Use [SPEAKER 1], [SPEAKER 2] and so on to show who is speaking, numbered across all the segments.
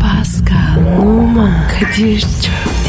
[SPEAKER 1] Pascal, Oman, Kadir çok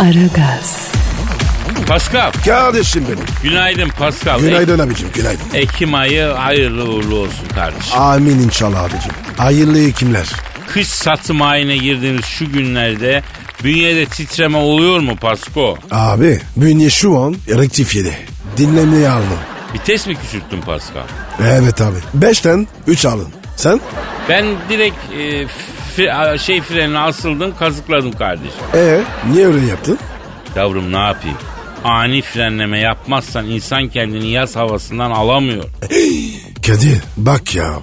[SPEAKER 1] Aragaz,
[SPEAKER 2] Pascal,
[SPEAKER 3] Kardeşim benim.
[SPEAKER 2] günaydın Pascal.
[SPEAKER 3] Günaydın abicim günaydın.
[SPEAKER 2] Ek- Ekim ayı hayırlı uğurlu olsun kardeşim.
[SPEAKER 3] Amin inşallah abicim. Hayırlı hekimler.
[SPEAKER 2] Kış satım ayına girdiğimiz şu günlerde bünyede titreme oluyor mu Pasko?
[SPEAKER 3] Abi bünye şu an rektifiyede. Dinlemeye aldım.
[SPEAKER 2] Vites mi küçülttün Pascal?
[SPEAKER 3] Evet abi. Beşten üç alın. Sen?
[SPEAKER 2] Ben direkt e, fre- a- şey frenine asıldım kazıkladım kardeşim.
[SPEAKER 3] Ee niye öyle yaptın?
[SPEAKER 2] Yavrum ne yapayım? Ani frenleme yapmazsan insan kendini yaz havasından alamıyor.
[SPEAKER 3] Kadir bak ya.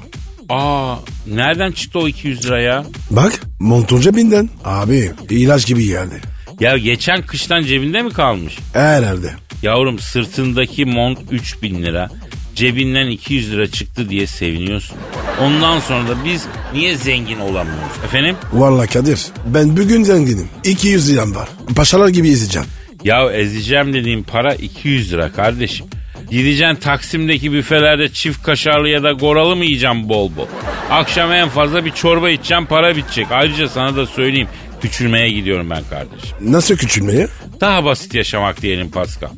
[SPEAKER 2] Aa nereden çıktı o 200 lira ya?
[SPEAKER 3] Bak montunca binden. Abi ilaç gibi geldi.
[SPEAKER 2] Ya geçen kıştan cebinde mi kalmış?
[SPEAKER 3] Herhalde.
[SPEAKER 2] Yavrum sırtındaki mont 3000 lira. Cebinden 200 lira çıktı diye seviniyorsun. Ondan sonra da biz niye zengin olamıyoruz? Efendim?
[SPEAKER 3] Vallahi Kadir ben bugün zenginim. 200 liram var. Paşalar gibi izleyeceğim.
[SPEAKER 2] Ya ezeceğim dediğim para 200 lira kardeşim. Gideceksin Taksim'deki büfelerde çift kaşarlı ya da goralı mı yiyeceğim bol bol? Akşam en fazla bir çorba içeceğim para bitecek. Ayrıca sana da söyleyeyim küçülmeye gidiyorum ben kardeşim.
[SPEAKER 3] Nasıl küçülmeye?
[SPEAKER 2] Daha basit yaşamak diyelim Pascal.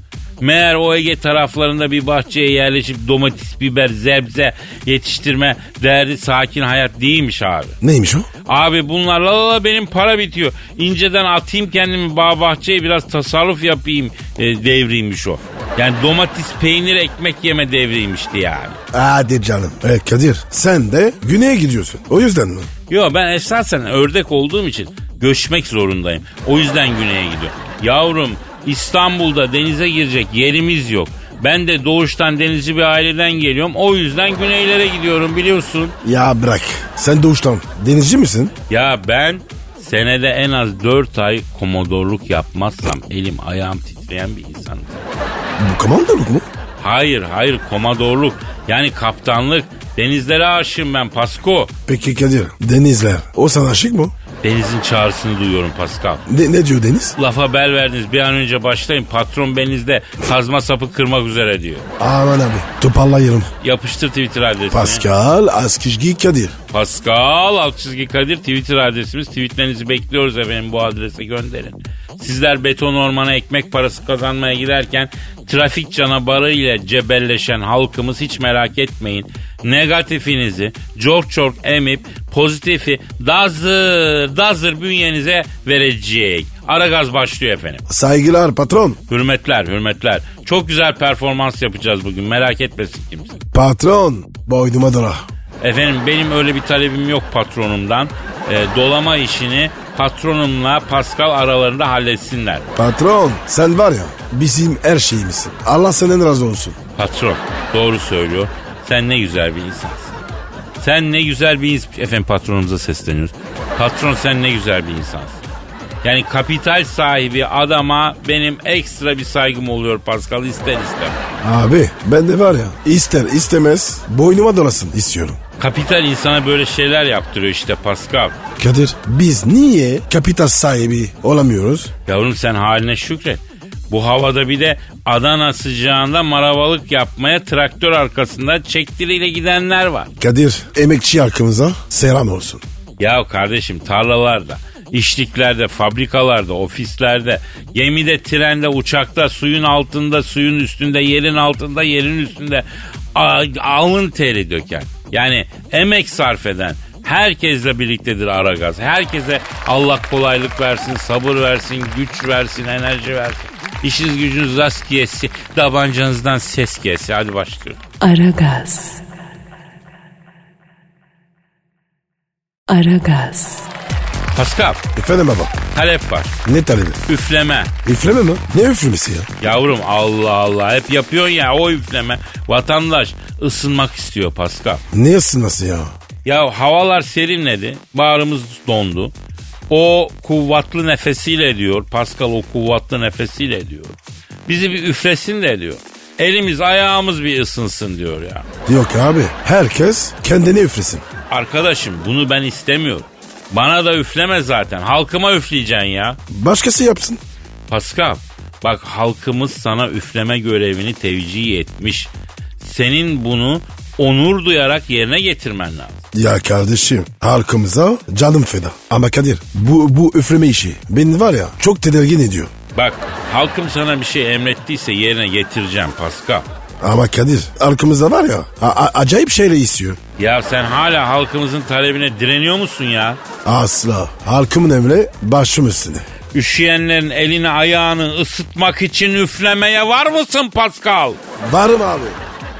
[SPEAKER 2] Meğer o Ege taraflarında bir bahçeye yerleşip domates, biber, zebze yetiştirme derdi sakin hayat değilmiş abi.
[SPEAKER 3] Neymiş o?
[SPEAKER 2] Abi bunlar la la la benim para bitiyor. İnceden atayım kendimi bağ bahçeye biraz tasarruf yapayım e, devriymiş o. Yani domates, peynir, ekmek yeme devriymişti yani.
[SPEAKER 3] Hadi canım. Evet Kadir sen de güneye gidiyorsun. O yüzden mi?
[SPEAKER 2] Yo ben esasen ördek olduğum için göçmek zorundayım. O yüzden güneye gidiyorum. Yavrum İstanbul'da denize girecek yerimiz yok. Ben de doğuştan denizci bir aileden geliyorum. O yüzden güneylere gidiyorum biliyorsun.
[SPEAKER 3] Ya bırak. Sen doğuştan denizci misin?
[SPEAKER 2] Ya ben senede en az 4 ay komodorluk yapmazsam elim ayağım titreyen bir insanım.
[SPEAKER 3] Bu komandoluk mu?
[SPEAKER 2] Hayır hayır komodorluk yani kaptanlık denizlere aşığım ben Pasko.
[SPEAKER 3] Peki Kadir denizler o sana aşık mı?
[SPEAKER 2] Denizin çağrısını duyuyorum Pascal.
[SPEAKER 3] Ne, ne diyor deniz?
[SPEAKER 2] Lafa bel verdiniz bir an önce başlayın patron benizde kazma sapı kırmak üzere diyor.
[SPEAKER 3] Aman abi toparlayalım.
[SPEAKER 2] Yapıştır Twitter adresini.
[SPEAKER 3] Pascal Askizgi Kadir.
[SPEAKER 2] Pascal alt çizgi Kadir Twitter adresimiz. Tweetlerinizi bekliyoruz efendim bu adrese gönderin. Sizler beton ormana ekmek parası kazanmaya giderken trafik canavarı ile cebelleşen halkımız hiç merak etmeyin. Negatifinizi çok çok emip pozitifi dazır dazır bünyenize verecek. Aragaz başlıyor efendim.
[SPEAKER 3] Saygılar patron.
[SPEAKER 2] Hürmetler hürmetler. Çok güzel performans yapacağız bugün merak etmesin kimse.
[SPEAKER 3] Patron boynuma dola.
[SPEAKER 2] Efendim benim öyle bir talebim yok patronumdan. E, dolama işini patronumla Pascal aralarında halletsinler.
[SPEAKER 3] Patron sen var ya bizim her şeyimizsin. Allah senden razı olsun.
[SPEAKER 2] Patron doğru söylüyor. Sen ne güzel bir insansın. Sen ne güzel bir ins- Efendim patronumuza sesleniyoruz. Patron sen ne güzel bir insansın. Yani kapital sahibi adama benim ekstra bir saygım oluyor Pascal ister ister.
[SPEAKER 3] Abi ben de var ya ister istemez boynuma dolasın istiyorum.
[SPEAKER 2] Kapital insana böyle şeyler yaptırıyor işte Pascal.
[SPEAKER 3] Kadir biz niye kapital sahibi olamıyoruz?
[SPEAKER 2] Yavrum sen haline şükret. Bu havada bir de Adana sıcağında maravalık yapmaya traktör arkasında çektiriyle gidenler var.
[SPEAKER 3] Kadir emekçi halkımıza selam olsun.
[SPEAKER 2] Ya kardeşim tarlalarda, işliklerde, fabrikalarda, ofislerde, gemide, trende, uçakta, suyun altında, suyun üstünde, yerin altında, yerin üstünde a- alın teri döken. Yani emek sarf eden herkesle birliktedir Aragaz. Herkese Allah kolaylık versin, sabır versin, güç versin, enerji versin. İşiniz gücünüz rast gelsin, tabancanızdan ses gelsin. Hadi başlıyoruz.
[SPEAKER 1] Aragaz. Aragaz,
[SPEAKER 2] Pascal,
[SPEAKER 3] Efendim baba
[SPEAKER 2] talep var.
[SPEAKER 3] ne talebi?
[SPEAKER 2] Üfleme.
[SPEAKER 3] Üfleme mi? Ne üflemesi ya?
[SPEAKER 2] Yavrum Allah Allah hep yapıyorsun ya o üfleme. Vatandaş ısınmak istiyor Pascal.
[SPEAKER 3] Ne ısınması ya?
[SPEAKER 2] Ya havalar serinledi. Bağrımız dondu. O kuvvetli nefesiyle diyor. Pascal o kuvvetli nefesiyle diyor. Bizi bir üflesin de diyor. Elimiz ayağımız bir ısınsın diyor ya.
[SPEAKER 3] Yok abi herkes kendini üflesin.
[SPEAKER 2] Arkadaşım bunu ben istemiyorum. Bana da üfleme zaten. Halkıma üfleyeceksin ya.
[SPEAKER 3] Başkası yapsın.
[SPEAKER 2] Pascal bak halkımız sana üfleme görevini tevcih etmiş. Senin bunu onur duyarak yerine getirmen lazım.
[SPEAKER 3] Ya kardeşim halkımıza canım feda. Ama Kadir bu, bu üfleme işi beni var ya çok tedirgin ediyor.
[SPEAKER 2] Bak halkım sana bir şey emrettiyse yerine getireceğim Pascal.
[SPEAKER 3] Ama Kadir halkımızda var ya a- a- acayip şeyler istiyor.
[SPEAKER 2] Ya sen hala halkımızın talebine direniyor musun ya?
[SPEAKER 3] Asla halkımın emri başım üstüne.
[SPEAKER 2] Üşüyenlerin elini ayağını ısıtmak için üflemeye var mısın Pascal?
[SPEAKER 3] Varım abi.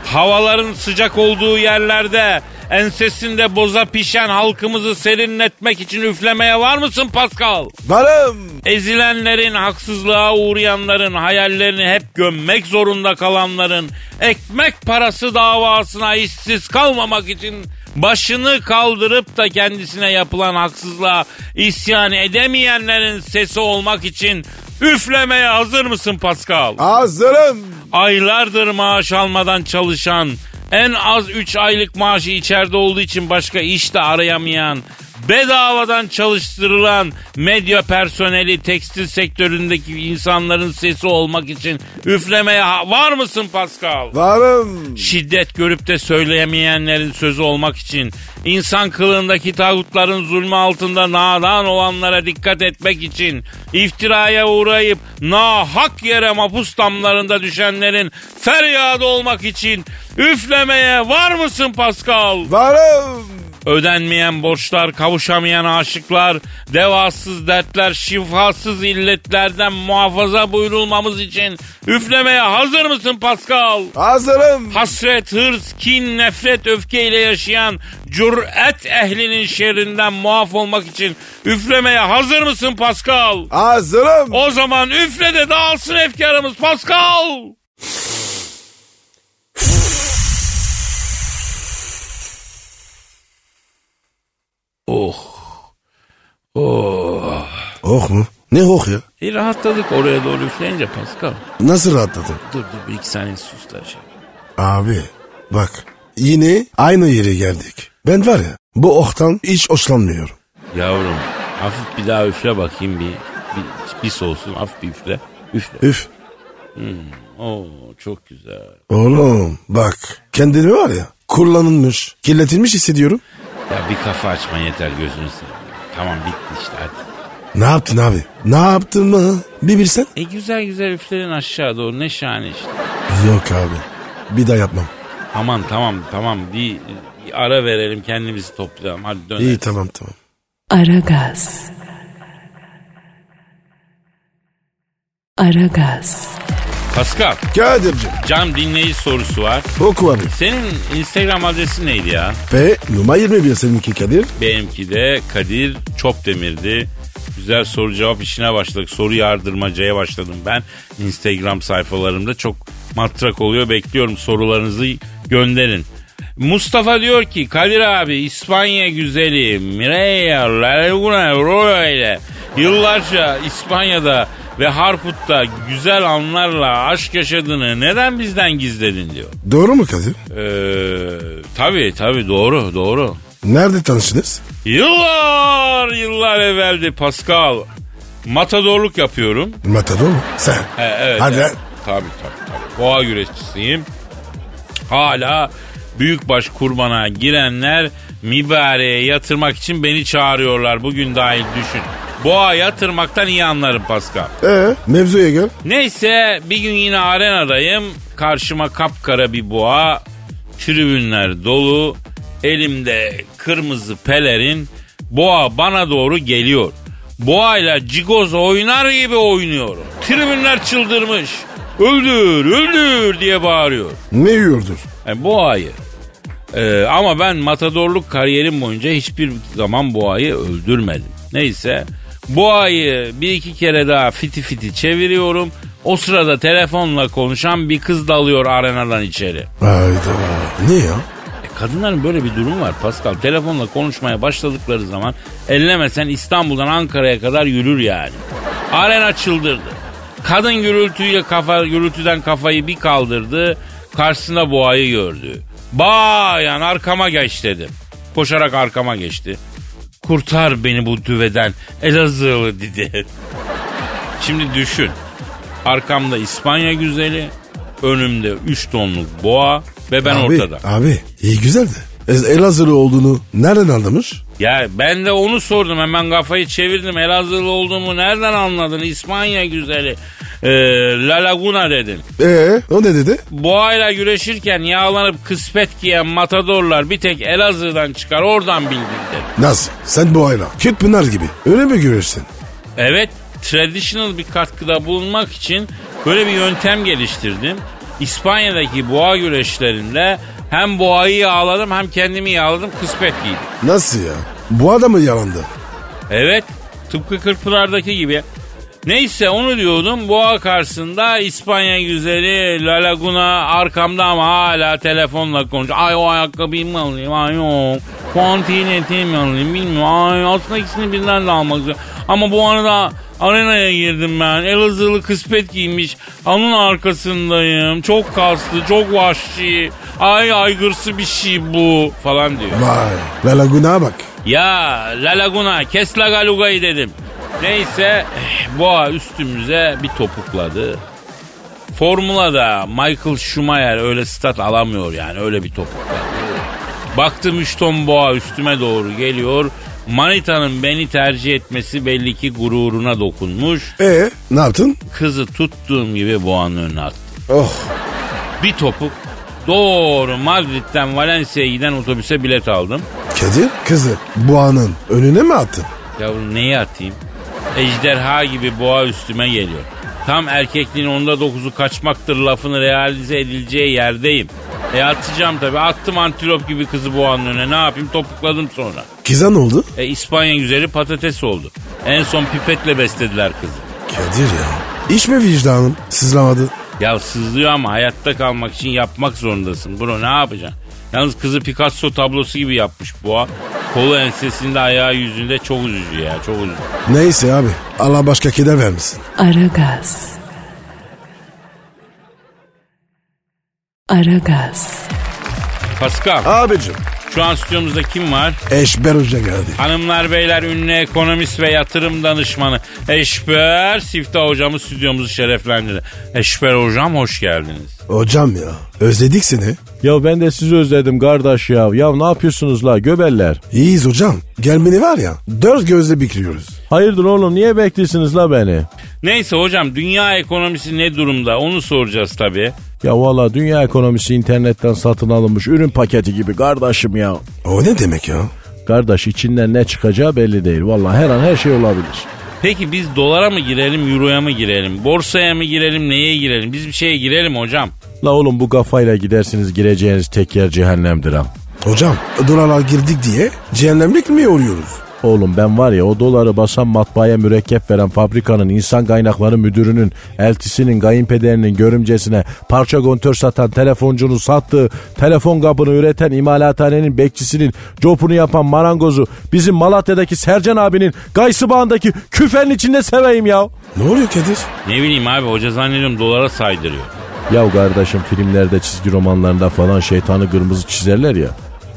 [SPEAKER 2] Havaların sıcak olduğu yerlerde ensesinde boza pişen halkımızı serinletmek için üflemeye var mısın Pascal?
[SPEAKER 3] Varım.
[SPEAKER 2] Ezilenlerin, haksızlığa uğrayanların, hayallerini hep gömmek zorunda kalanların, ekmek parası davasına işsiz kalmamak için başını kaldırıp da kendisine yapılan haksızlığa isyan edemeyenlerin sesi olmak için üflemeye hazır mısın Pascal?
[SPEAKER 3] Hazırım.
[SPEAKER 2] Aylardır maaş almadan çalışan, en az 3 aylık maaşı içeride olduğu için başka iş de arayamayan, bedavadan çalıştırılan medya personeli tekstil sektöründeki insanların sesi olmak için üflemeye ha- var mısın Pascal?
[SPEAKER 3] Varım.
[SPEAKER 2] Şiddet görüp de söyleyemeyenlerin sözü olmak için, insan kılığındaki tağutların zulmü altında nadan olanlara dikkat etmek için, iftiraya uğrayıp nahak yere mapus damlarında düşenlerin feryadı olmak için üflemeye var mısın Pascal?
[SPEAKER 3] Varım.
[SPEAKER 2] Ödenmeyen borçlar, kavuşamayan aşıklar, devasız dertler, şifasız illetlerden muhafaza buyurulmamız için üflemeye hazır mısın Pascal?
[SPEAKER 3] Hazırım.
[SPEAKER 2] Hasret, hırs, kin, nefret, öfkeyle yaşayan cüret ehlinin şerrinden muaf olmak için üflemeye hazır mısın Pascal?
[SPEAKER 3] Hazırım.
[SPEAKER 2] O zaman üfle de dağılsın efkarımız Pascal.
[SPEAKER 3] Oh mu? Ne oh ya?
[SPEAKER 2] E rahatladık oraya doğru üfleyince Pascal.
[SPEAKER 3] Nasıl rahatladın?
[SPEAKER 2] Dur dur bir iki saniye sus da şey.
[SPEAKER 3] Abi bak yine aynı yere geldik. Ben var ya bu ohtan hiç hoşlanmıyorum.
[SPEAKER 2] Yavrum hafif bir daha üfle bakayım bir. Bir, bir soğusun hafif bir üfle. Üfle.
[SPEAKER 3] Üf.
[SPEAKER 2] Oo çok güzel.
[SPEAKER 3] Oğlum bak kendimi var ya kullanılmış kirletilmiş hissediyorum.
[SPEAKER 2] Ya bir kafa açma yeter gözünü seveyim. Tamam bitti işte hadi.
[SPEAKER 3] Ne yaptın abi? Ne yaptın mı? Bir bilsen.
[SPEAKER 2] E güzel güzel üflerin aşağı doğru ne şahane işte.
[SPEAKER 3] Yok abi bir daha yapmam.
[SPEAKER 2] Aman tamam tamam bir, bir ara verelim kendimizi toplayalım hadi dönelim.
[SPEAKER 3] İyi tamam tamam.
[SPEAKER 1] Aragaz. Aragaz.
[SPEAKER 2] Pascal
[SPEAKER 3] Kadir'cim
[SPEAKER 2] cam dinleyici sorusu var.
[SPEAKER 3] oku abi.
[SPEAKER 2] Senin Instagram adresin neydi ya?
[SPEAKER 3] Ve numara 21 seninki Kadir.
[SPEAKER 2] Benimki de Kadir Çopdemir'di. Güzel soru cevap işine başladık. Soru yardırmacaya başladım ben. Instagram sayfalarımda çok matrak oluyor. Bekliyorum sorularınızı gönderin. Mustafa diyor ki Kadir abi İspanya güzeli Mireia Laguna Roya ile yıllarca İspanya'da ve Harput'ta güzel anlarla aşk yaşadığını neden bizden gizledin diyor.
[SPEAKER 3] Doğru mu Kadir?
[SPEAKER 2] Ee, tabii tabii doğru doğru.
[SPEAKER 3] Nerede tanıştınız?
[SPEAKER 2] Yıllar yıllar evveldi Pascal. Matadorluk yapıyorum.
[SPEAKER 3] Matador mu? Sen.
[SPEAKER 2] E, evet.
[SPEAKER 3] Hadi
[SPEAKER 2] evet.
[SPEAKER 3] lan.
[SPEAKER 2] Tabii tabii tabii. Boğa güreşçisiyim. Hala büyükbaş kurbana girenler mübareğe yatırmak için beni çağırıyorlar. Bugün dahil düşün. Boğa yatırmaktan iyi anlarım Pascal.
[SPEAKER 3] Ee, mevzuya gel.
[SPEAKER 2] Neyse bir gün yine arenadayım. Karşıma kapkara bir boğa. Tribünler dolu. Elimde kırmızı pelerin. Boğa bana doğru geliyor. Boğayla cigoz oynar gibi oynuyorum. Tribünler çıldırmış. Öldür, öldür diye bağırıyor.
[SPEAKER 3] Ne yiyordur?
[SPEAKER 2] Yani E, boğayı. Ee, ama ben matadorluk kariyerim boyunca hiçbir zaman boğayı öldürmedim. Neyse boğayı bir iki kere daha fiti fiti çeviriyorum. O sırada telefonla konuşan bir kız dalıyor arenadan içeri.
[SPEAKER 3] Hayda. Ne ya?
[SPEAKER 2] E, kadınların böyle bir durum var Pascal. Telefonla konuşmaya başladıkları zaman ellemesen İstanbul'dan Ankara'ya kadar yürür yani. Arena çıldırdı. Kadın gürültüyle kafa, gürültüden kafayı bir kaldırdı. Karşısında boğayı gördü. Bayan arkama geç dedim. Koşarak arkama geçti. Kurtar beni bu düveden Elazığlı dedi. Şimdi düşün. Arkamda İspanya güzeli, önümde 3 tonluk boğa ve ben
[SPEAKER 3] abi,
[SPEAKER 2] ortada.
[SPEAKER 3] Abi iyi güzeldi. Ez- Elazığlı olduğunu nereden anlamış?
[SPEAKER 2] Ya ben de onu sordum hemen kafayı çevirdim. Elazığlı olduğumu nereden anladın? İspanya güzeli. Ee, La Laguna dedin.
[SPEAKER 3] Ee o ne dedi?
[SPEAKER 2] Boğayla güreşirken yağlanıp kıspet giyen matadorlar bir tek Elazığ'dan çıkar oradan bildim dedi.
[SPEAKER 3] Nasıl? Sen bu ayla. Küt Pınar gibi. Öyle mi görürsün?
[SPEAKER 2] Evet traditional bir katkıda bulunmak için böyle bir yöntem geliştirdim. İspanya'daki boğa güreşlerinde hem boğayı yağladım hem kendimi yağladım kıspet giydim.
[SPEAKER 3] Nasıl ya? Bu adam mı yalandı?
[SPEAKER 2] Evet. Tıpkı Kırkpınar'daki gibi. Neyse onu diyordum. Boğa karşısında İspanya güzeli La Laguna arkamda ama hala telefonla konuşuyor. Ay o ayakkabıyı mı alayım? Ay yok. Kontineti mi alayım bilmiyorum. Ay aslında ikisini birden de almak istiyorum. Ama bu arada arenaya girdim ben. Elazığlı kıspet giymiş. Onun arkasındayım. Çok kaslı, çok vahşi. Ay aygırsı bir şey bu falan diyor.
[SPEAKER 3] Vay. La Laguna'ya bak.
[SPEAKER 2] Ya La Laguna kes La Galuga'yı dedim. Neyse eh, boğa üstümüze bir topukladı. Formula'da Michael Schumacher öyle stat alamıyor yani öyle bir topukladı. Baktım 3 ton boğa üstüme doğru geliyor. Manita'nın beni tercih etmesi belli ki gururuna dokunmuş.
[SPEAKER 3] Ee ne yaptın?
[SPEAKER 2] Kızı tuttuğum gibi boğanın önüne attım.
[SPEAKER 3] Oh.
[SPEAKER 2] Bir topuk doğru Madrid'den Valencia'ya giden otobüse bilet aldım.
[SPEAKER 3] Kadir kızı Boğa'nın önüne mi attın?
[SPEAKER 2] Yavrum neyi atayım? Ejderha gibi boğa üstüme geliyor. Tam erkekliğin onda dokuzu kaçmaktır lafını realize edileceği yerdeyim. E atacağım tabii. Attım antilop gibi kızı boğanın önüne. Ne yapayım topukladım sonra.
[SPEAKER 3] Kıza ne oldu?
[SPEAKER 2] E İspanya güzeli patates oldu. En son pipetle beslediler kızı.
[SPEAKER 3] Kadir ya. İş mi vicdanın? Sızlamadı.
[SPEAKER 2] Ya sızlıyor ama hayatta kalmak için yapmak zorundasın. Bro ne yapacaksın? Yalnız kızı Picasso tablosu gibi yapmış boğa. Kolu ensesinde ayağı yüzünde çok üzücü ya çok üzücü.
[SPEAKER 3] Neyse abi. Allah başka keder vermesin.
[SPEAKER 1] Aragaz. Aragaz.
[SPEAKER 2] Pascal
[SPEAKER 3] Abicim.
[SPEAKER 2] şu an stüdyomuzda kim var?
[SPEAKER 3] Eşber Hoca geldi.
[SPEAKER 2] Hanımlar beyler ünlü ekonomist ve yatırım danışmanı Eşber Siftah hocamız stüdyomuzu şereflendirdi. Eşber hocam hoş geldiniz.
[SPEAKER 3] Hocam ya. Özledik seni.
[SPEAKER 4] Ya ben de sizi özledim kardeş ya. Ya ne yapıyorsunuz la göbeller?
[SPEAKER 3] İyiyiz hocam. Gelmeni var ya. Dört gözle bekliyoruz.
[SPEAKER 4] Hayırdır oğlum niye bekliyorsunuz la beni?
[SPEAKER 2] Neyse hocam dünya ekonomisi ne durumda onu soracağız tabii.
[SPEAKER 4] Ya valla dünya ekonomisi internetten satın alınmış ürün paketi gibi kardeşim ya.
[SPEAKER 3] O ne demek ya?
[SPEAKER 4] Kardeş içinden ne çıkacağı belli değil. Valla her an her şey olabilir.
[SPEAKER 2] Peki biz dolara mı girelim, euroya mı girelim, borsaya mı girelim, neye girelim? Biz bir şeye girelim hocam.
[SPEAKER 4] La oğlum bu kafayla gidersiniz gireceğiniz tek yer cehennemdir ha.
[SPEAKER 3] Hocam dolara girdik diye cehennemlik mi yoruyoruz?
[SPEAKER 4] Oğlum ben var ya o doları basan matbaaya mürekkep veren fabrikanın insan kaynakları müdürünün, eltisinin, kayınpederinin görümcesine parça kontör satan telefoncunun sattığı, telefon kabını üreten imalathanenin bekçisinin, copunu yapan marangozu, bizim Malatya'daki Sercan abinin, Gaysı Bağı'ndaki küfenin içinde seveyim ya.
[SPEAKER 3] Ne oluyor Kadir?
[SPEAKER 2] Ne bileyim abi hoca zannediyorum dolara saydırıyor.
[SPEAKER 4] Ya kardeşim filmlerde çizgi romanlarında falan şeytanı kırmızı çizerler ya.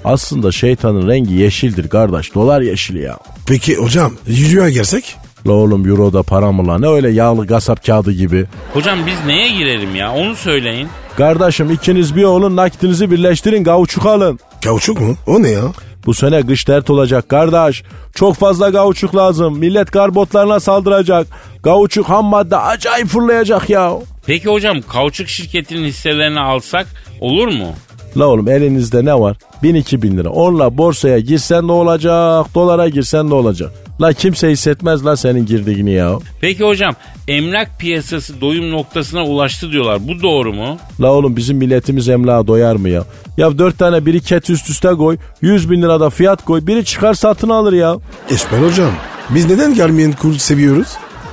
[SPEAKER 4] Aslında şeytanın rengi yeşildir kardeş. Dolar yeşili ya.
[SPEAKER 3] Peki hocam yürüyor gelsek?
[SPEAKER 4] La oğlum euro da para mı la? Ne öyle yağlı kasap kağıdı gibi.
[SPEAKER 2] Hocam biz neye girelim ya onu söyleyin.
[SPEAKER 4] Kardeşim ikiniz bir olun nakitinizi birleştirin gauçuk alın.
[SPEAKER 3] Kauçuk mu? O ne ya?
[SPEAKER 4] Bu sene kış dert olacak kardeş. Çok fazla gauçuk lazım. Millet karbotlarına saldıracak. Gauçuk ham madde acayip fırlayacak ya.
[SPEAKER 2] Peki hocam kauçuk şirketinin hisselerini alsak olur mu?
[SPEAKER 4] La oğlum elinizde ne var? 1000-2000 lira. Onunla borsaya girsen de olacak, dolara girsen de olacak. La kimse hissetmez la senin girdiğini ya.
[SPEAKER 2] Peki hocam emlak piyasası doyum noktasına ulaştı diyorlar. Bu doğru mu?
[SPEAKER 4] La oğlum bizim milletimiz emlağa doyar mı ya? Ya dört tane biriket üst üste koy, 100 bin lirada fiyat koy, biri çıkar satın alır ya.
[SPEAKER 3] Eşber hocam. Biz neden gelmeyen kul seviyoruz?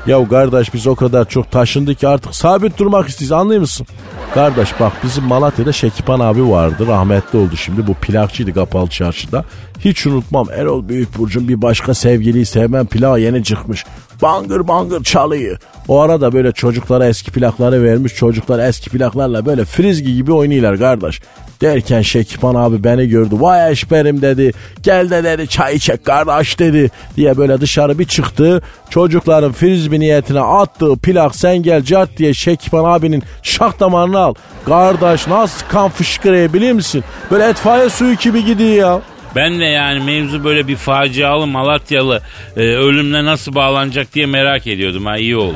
[SPEAKER 4] Ya kardeş biz o kadar çok taşındık ki artık sabit durmak istiyoruz anlıyor musun? Kardeş bak bizim Malatya'da Şekipan abi vardı rahmetli oldu şimdi bu plakçıydı kapalı çarşıda. Hiç unutmam Erol Büyükburcu'nun bir başka sevgiliyi sevmem plağı yeni çıkmış. Bangır bangır çalıyor. O arada böyle çocuklara eski plakları vermiş çocuklar eski plaklarla böyle frizgi gibi oynuyorlar kardeş. Derken Şekipan abi beni gördü. Vay eşberim dedi. Gel de dedi çay içek kardeş dedi. Diye böyle dışarı bir çıktı. Çocukların frisbee niyetine attığı plak sen gel cart diye Şekipan abinin şak damarını al. Kardeş nasıl kan fışkırıyor biliyor musun? Böyle etfaiye suyu gibi gidiyor ya.
[SPEAKER 2] Ben de yani mevzu böyle bir facialı Malatyalı e, ölümle nasıl bağlanacak diye merak ediyordum ha iyi oldu.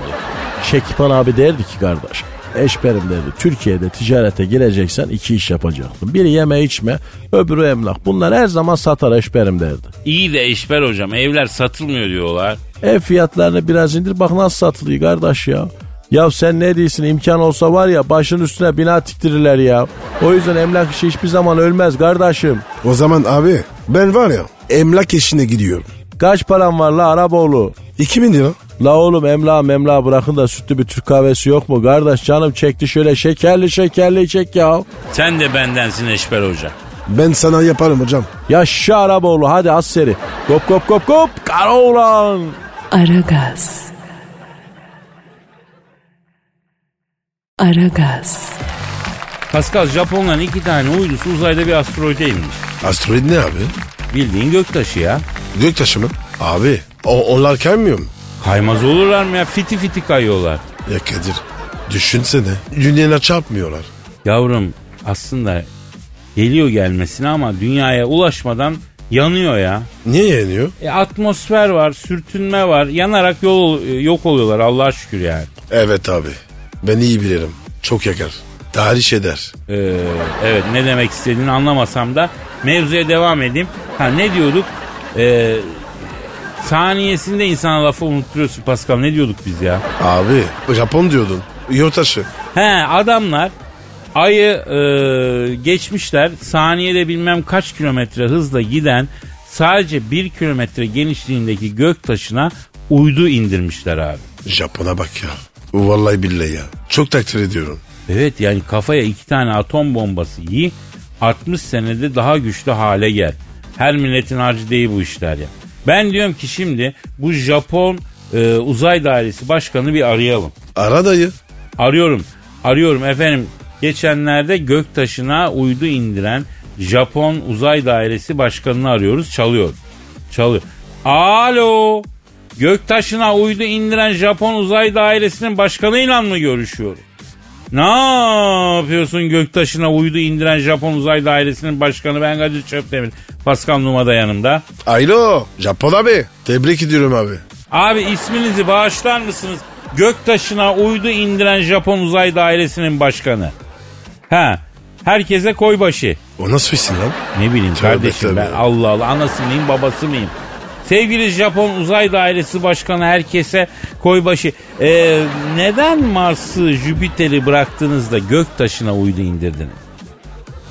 [SPEAKER 4] Şekipan abi derdi ki kardeş. Eşberim derdi Türkiye'de ticarete gireceksen iki iş yapacaktın. Biri yeme içme öbürü emlak. Bunlar her zaman satar eşberim derdi.
[SPEAKER 2] İyi de Eşber hocam evler satılmıyor diyorlar.
[SPEAKER 4] Ev fiyatlarını biraz indir bak nasıl satılıyor kardeş ya. Ya sen ne diyorsun imkan olsa var ya başın üstüne bina tiktirirler ya. O yüzden emlak işi hiçbir zaman ölmez kardeşim.
[SPEAKER 3] O zaman abi ben var ya emlak işine gidiyorum.
[SPEAKER 4] Kaç paran var la Araboğlu?
[SPEAKER 3] 2000 lira.
[SPEAKER 4] La oğlum emla memla bırakın da sütlü bir Türk kahvesi yok mu? Kardeş canım çekti şöyle şekerli şekerli içek ya.
[SPEAKER 2] Sen de bendensin Eşber hoca.
[SPEAKER 3] Ben sana yaparım hocam.
[SPEAKER 4] Yaşa Araboğlu hadi az seri. Kop kop kop kop. Kara oğlan.
[SPEAKER 1] Aragaz. Aragaz.
[SPEAKER 2] Pascal Japonların iki tane uydusu uzayda bir asteroide inmiş.
[SPEAKER 3] Asteroid ne abi?
[SPEAKER 2] Bildiğin göktaşı ya.
[SPEAKER 3] Göktaşı mı? Abi o, onlar kaymıyor mu?
[SPEAKER 2] Kaymaz olurlar mı ya? Fiti fiti kayıyorlar.
[SPEAKER 3] Ya Kadir düşünsene. Dünyana çarpmıyorlar.
[SPEAKER 2] Yavrum aslında geliyor gelmesine ama dünyaya ulaşmadan yanıyor ya.
[SPEAKER 3] Niye yeniyor?
[SPEAKER 2] E, atmosfer var, sürtünme var. Yanarak yol e, yok oluyorlar Allah'a şükür yani.
[SPEAKER 3] Evet abi. Ben iyi bilirim. Çok yakar. Tahriş eder.
[SPEAKER 2] Ee, evet ne demek istediğini anlamasam da mevzuya devam edeyim. Ha ne diyorduk? Ee, saniyesinde insana lafı unutturuyorsun Pascal. Ne diyorduk biz ya?
[SPEAKER 3] Abi Japon diyordun. Yotaşı.
[SPEAKER 2] He adamlar ayı e, geçmişler saniyede bilmem kaç kilometre hızla giden sadece bir kilometre genişliğindeki gök taşına uydu indirmişler abi.
[SPEAKER 3] Japon'a bak ya. Vallahi billahi ya. Çok takdir ediyorum.
[SPEAKER 2] Evet yani kafaya iki tane atom bombası yiy 60 senede daha güçlü hale gel. Her milletin harcı değil bu işler ya. Ben diyorum ki şimdi bu Japon e, uzay dairesi başkanı bir arayalım.
[SPEAKER 3] Ara dayı.
[SPEAKER 2] Arıyorum. Arıyorum efendim. Geçenlerde göktaşına uydu indiren Japon Uzay Dairesi Başkanı'nı arıyoruz. Çalıyor. Çalıyor. Alo. Göktaşına uydu indiren Japon Uzay Dairesi'nin başkanıyla mı görüşüyorum? Ne yapıyorsun göktaşına uydu indiren Japon Uzay Dairesi'nin başkanı ben Kadir Çöpdemir. Pascal Numa da yanımda.
[SPEAKER 3] Alo Japon abi. Tebrik ediyorum abi.
[SPEAKER 2] Abi isminizi bağışlar mısınız? Göktaşına uydu indiren Japon Uzay Dairesi'nin başkanı. Ha, herkese koybaşı.
[SPEAKER 3] O nasıl isim lan?
[SPEAKER 2] Ne bileyim
[SPEAKER 3] Tövbe
[SPEAKER 2] kardeşim
[SPEAKER 3] tövbe.
[SPEAKER 2] ben Allah Allah anası mıyım babası mıyım? Sevgili Japon Uzay Dairesi Başkanı herkese koybaşı. Ee, neden Mars'ı Jüpiter'i bıraktınız da Göktaşına uydu indirdiniz?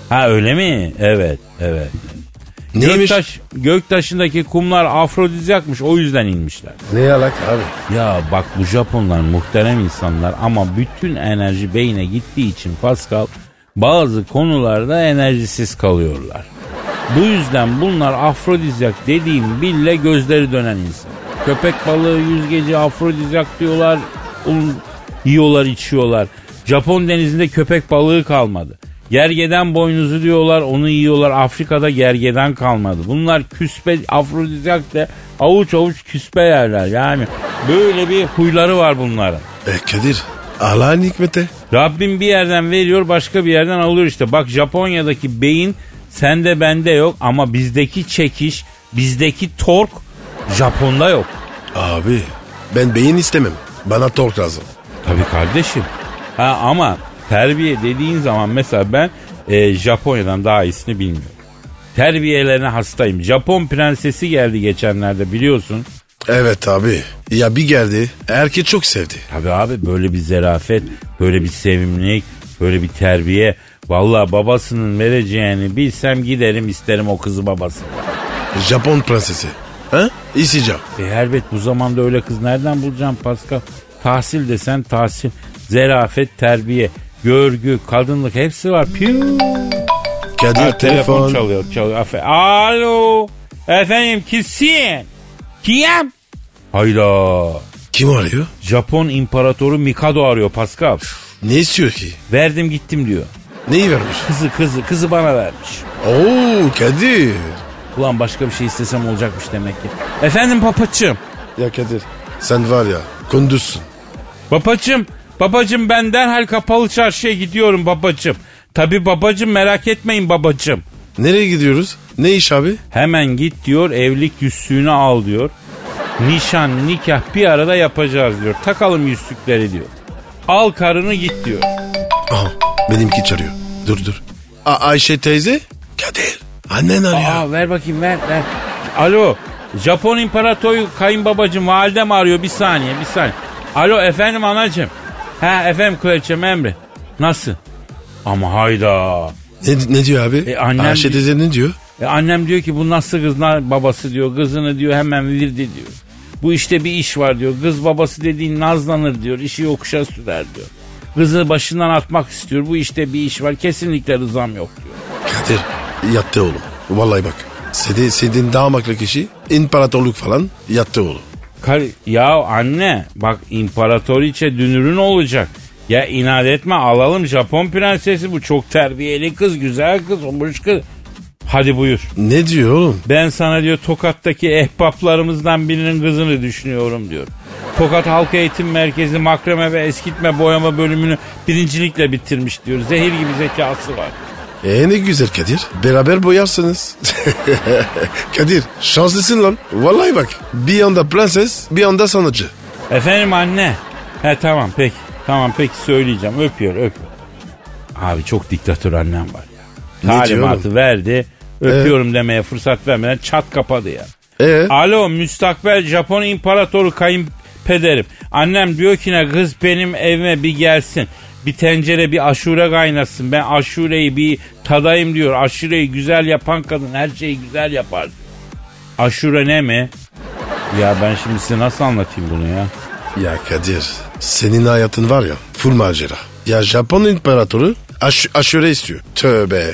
[SPEAKER 2] Ha öyle mi? Evet, evet.
[SPEAKER 3] Neymiş?
[SPEAKER 2] Göktaş, Göktaşındaki kumlar afrodizyakmış o yüzden inmişler.
[SPEAKER 3] Ne alak abi?
[SPEAKER 2] Ya bak bu Japonlar muhterem insanlar ama bütün enerji beyne gittiği için Pascal bazı konularda enerjisiz kalıyorlar. Bu yüzden bunlar afrodizyak dediğim bile gözleri dönen insan. Köpek balığı yüzgeci afrodizyak diyorlar. Onu yiyorlar içiyorlar. Japon denizinde köpek balığı kalmadı. Gergeden boynuzu diyorlar onu yiyorlar. Afrika'da gergeden kalmadı. Bunlar küspe afrodizyak de avuç avuç küspe yerler. Yani böyle bir huyları var bunların.
[SPEAKER 3] E Kadir. Allah'ın hikmeti.
[SPEAKER 2] Rabbim bir yerden veriyor başka bir yerden alıyor işte. Bak Japonya'daki beyin sende bende yok ama bizdeki çekiş, bizdeki tork Japon'da yok.
[SPEAKER 3] Abi ben beyin istemem. Bana tork lazım.
[SPEAKER 2] Tabii kardeşim. Ha, ama terbiye dediğin zaman mesela ben e, Japonya'dan daha iyisini bilmiyorum. Terbiyelerine hastayım. Japon prensesi geldi geçenlerde biliyorsun.
[SPEAKER 3] Evet abi. Ya bir geldi. Erkeği çok sevdi.
[SPEAKER 2] Tabii abi böyle bir zerafet, böyle bir sevimlilik, böyle bir terbiye. Vallahi babasının vereceğini bilsem giderim isterim o kızı babası.
[SPEAKER 3] Japon prensesi. Ha? İçeceğim.
[SPEAKER 2] E elbet bu zamanda öyle kız nereden bulacağım Pascal? Tahsil desen tahsil, zerafet, terbiye, görgü, kadınlık hepsi var. Piu.
[SPEAKER 3] Kadir
[SPEAKER 2] Ha, telefon çalıyor, çalıyor. Afe- Alo. Efendim kimsin? Kim? Hayda.
[SPEAKER 3] Kim arıyor?
[SPEAKER 2] Japon imparatoru Mikado arıyor Pascal.
[SPEAKER 3] Ne istiyor ki?
[SPEAKER 2] Verdim gittim diyor.
[SPEAKER 3] Neyi vermiş?
[SPEAKER 2] Kızı kızı kızı bana vermiş.
[SPEAKER 3] Oo Kadir.
[SPEAKER 2] Ulan başka bir şey istesem olacakmış demek ki. Efendim papaçım.
[SPEAKER 3] Ya Kadir sen var ya kunduzsun.
[SPEAKER 2] Babacım, babacım ben derhal kapalı çarşıya gidiyorum babacım. Tabi babacım merak etmeyin babacım.
[SPEAKER 3] Nereye gidiyoruz? Ne iş abi?
[SPEAKER 2] Hemen git diyor evlilik yüzüğünü al diyor. Nişan, nikah bir arada yapacağız diyor. Takalım yüzükleri diyor. Al karını git diyor.
[SPEAKER 3] Aha benimki çağırıyor. Dur dur. A- Ayşe teyze? Kadir. Annen arıyor.
[SPEAKER 2] Aa ver bakayım ver ver. Alo Japon İmparatoru kayınbabacım validem arıyor bir saniye bir saniye. Alo efendim anacım. Ha efendim kraliçem Emre. Nasıl? Ama hayda.
[SPEAKER 3] Ne, ne diyor abi?
[SPEAKER 2] E, annem-
[SPEAKER 3] Ayşe teyze ne diyor?
[SPEAKER 2] E annem diyor ki bu nasıl kız lan babası diyor. Kızını diyor hemen virdi diyor. Bu işte bir iş var diyor. Kız babası dediğin nazlanır diyor. işi yokuşa sürer diyor. Kızı başından atmak istiyor. Bu işte bir iş var. Kesinlikle rızam yok diyor.
[SPEAKER 3] Kadir yattı oğlum. Vallahi bak. Sedi, sedin damaklı kişi imparatorluk falan yattı oğlum.
[SPEAKER 2] Kar- ya anne bak imparatoriçe dünürün olacak. Ya inat etme alalım Japon prensesi bu çok terbiyeli kız güzel kız olmuş kız. Hadi buyur.
[SPEAKER 3] Ne diyor oğlum?
[SPEAKER 2] Ben sana diyor Tokat'taki ehbaplarımızdan birinin kızını düşünüyorum diyor. Tokat Halk Eğitim Merkezi makreme ve eskitme boyama bölümünü birincilikle bitirmiş diyor. Zehir gibi zekası var.
[SPEAKER 3] E ne güzel Kadir. Beraber boyarsınız. Kadir şanslısın lan. Vallahi bak. Bir yanda prenses bir yanda sanatçı.
[SPEAKER 2] Efendim anne. He tamam peki. Tamam peki söyleyeceğim. Öpüyor öpüyor. Abi çok diktatör annem var ya.
[SPEAKER 3] Ne diyor Ee?
[SPEAKER 2] Talimatı verdi. Öpüyorum demeye fırsat vermeden çat kapadı ya.
[SPEAKER 3] E
[SPEAKER 2] Alo müstakbel Japon imparatoru kayınpederim. Annem diyor ki ne kız benim evime bir gelsin. Bir tencere bir aşure kaynasın. Ben aşureyi bir tadayım diyor. Aşureyi güzel yapan kadın her şeyi güzel yapar. diyor. Aşure ne mi? Ya ben şimdi size nasıl anlatayım bunu ya?
[SPEAKER 3] ya Kadir senin hayatın var ya full macera. Ya Japon imparatoru aş- aşure istiyor. Tövbe.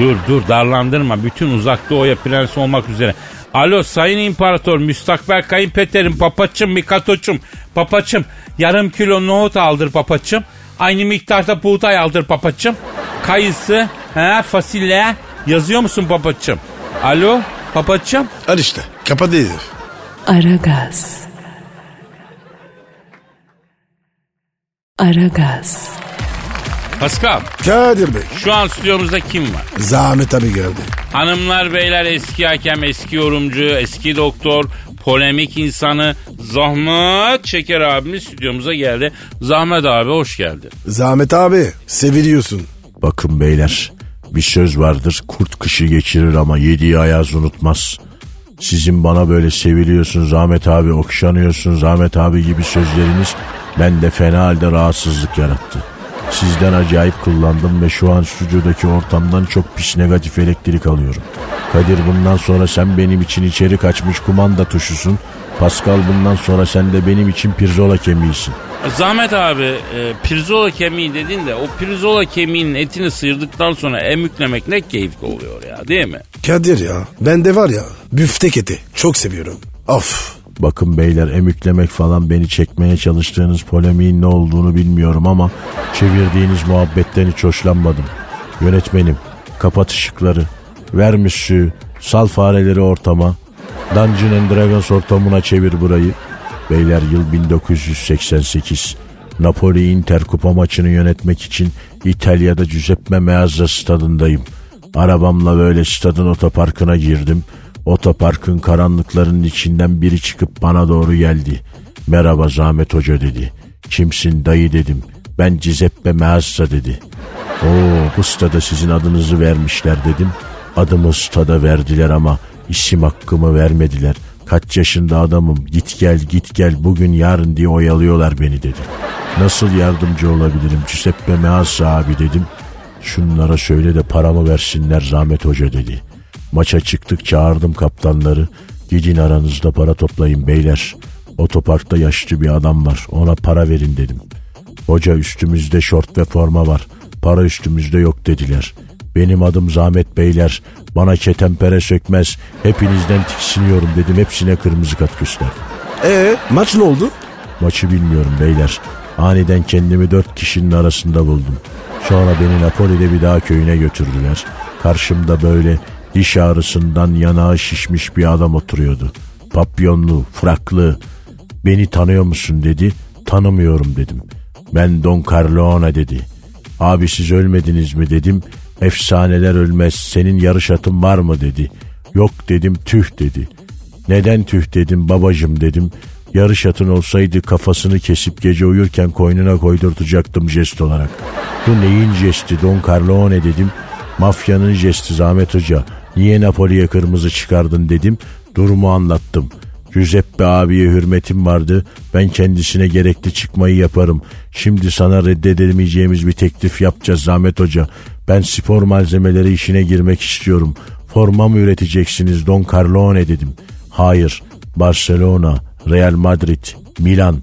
[SPEAKER 2] Dur dur darlandırma. Bütün uzak doğuya prens olmak üzere. Alo sayın imparator müstakbel kayınpederim papaçım mikatoçum papaçım yarım kilo nohut aldır papaçım. Aynı miktarda buğday aldır papaçım. Kayısı, he, fasulye yazıyor musun papaçım? Alo papaçım
[SPEAKER 3] Al işte kapat herif.
[SPEAKER 1] Aragaz. Aragaz.
[SPEAKER 2] Pascal
[SPEAKER 3] Kadir Bey
[SPEAKER 2] şu an stüdyomuzda kim var?
[SPEAKER 3] zahmet abi geldi.
[SPEAKER 2] Hanımlar beyler eski hakem, eski yorumcu, eski doktor, polemik insanı Zahmet Şeker abimiz stüdyomuza geldi. Zahmet abi hoş geldin.
[SPEAKER 3] Zahmet abi seviliyorsun.
[SPEAKER 4] Bakın beyler bir söz vardır kurt kışı geçirir ama yediği ayaz unutmaz. Sizin bana böyle seviliyorsunuz Ahmet abi okşanıyorsunuz Ahmet abi gibi sözleriniz bende fena halde rahatsızlık yarattı. Sizden acayip kullandım ve şu an stüdyodaki ortamdan çok pis negatif elektrik alıyorum. Kadir bundan sonra sen benim için içeri kaçmış kumanda tuşusun. Pascal bundan sonra sen de benim için pirzola kemiğisin.
[SPEAKER 2] Zahmet abi e, pirzola kemiği dedin de o pirzola kemiğinin etini sıyırdıktan sonra emüklemek ne keyifli oluyor ya değil mi?
[SPEAKER 3] Kadir ya ben de var ya büftek eti çok seviyorum. Of
[SPEAKER 4] Bakın beyler emüklemek falan beni çekmeye çalıştığınız polemiğin ne olduğunu bilmiyorum ama çevirdiğiniz muhabbetten hiç hoşlanmadım. Yönetmenim kapat ışıkları, ver müsüğü, sal fareleri ortama, Dungeon and Dragons ortamına çevir burayı. Beyler yıl 1988. Napoli Inter kupa maçını yönetmek için İtalya'da Giuseppe Meazza stadındayım. Arabamla böyle stadın otoparkına girdim. Otoparkın karanlıklarının içinden biri çıkıp bana doğru geldi. Merhaba Zahmet Hoca dedi. Kimsin dayı dedim. Ben Cizeppe Meazza dedi. Oo bu stada sizin adınızı vermişler dedim. Adımı stada verdiler ama isim hakkımı vermediler. Kaç yaşında adamım git gel git gel bugün yarın diye oyalıyorlar beni dedi. Nasıl yardımcı olabilirim Cizeppe Meazza abi dedim. Şunlara söyle de paramı versinler Zahmet Hoca dedi. Maça çıktık çağırdım kaptanları. Gidin aranızda para toplayın beyler. Otoparkta yaşlı bir adam var ona para verin dedim. Hoca üstümüzde şort ve forma var. Para üstümüzde yok dediler. Benim adım Zahmet Beyler. Bana çetempere sökmez. Hepinizden tiksiniyorum dedim. Hepsine kırmızı kart gösterdim.
[SPEAKER 3] Ee maç ne oldu?
[SPEAKER 4] Maçı bilmiyorum beyler. Aniden kendimi dört kişinin arasında buldum. Sonra beni Napoli'de bir daha köyüne götürdüler. Karşımda böyle diş ağrısından yanağı şişmiş bir adam oturuyordu. Papyonlu, fraklı. Beni tanıyor musun dedi. Tanımıyorum dedim. Ben Don Carlona dedi. Abi siz ölmediniz mi dedim. Efsaneler ölmez. Senin yarış atın var mı dedi. Yok dedim tüh dedi. Neden tüh dedim babacım dedim. Yarış atın olsaydı kafasını kesip gece uyurken koynuna koydurtacaktım jest olarak. Bu neyin jesti Don Carlone dedim. Mafyanın jesti Zahmet Hoca. Niye Napoli'ye kırmızı çıkardın dedim. Durumu anlattım. Giuseppe abiye hürmetim vardı. Ben kendisine gerekli çıkmayı yaparım. Şimdi sana reddedemeyeceğimiz bir teklif yapacağız Zahmet Hoca. Ben spor malzemeleri işine girmek istiyorum. Forma mı üreteceksiniz Don Carlone dedim. Hayır. Barcelona, Real Madrid, Milan,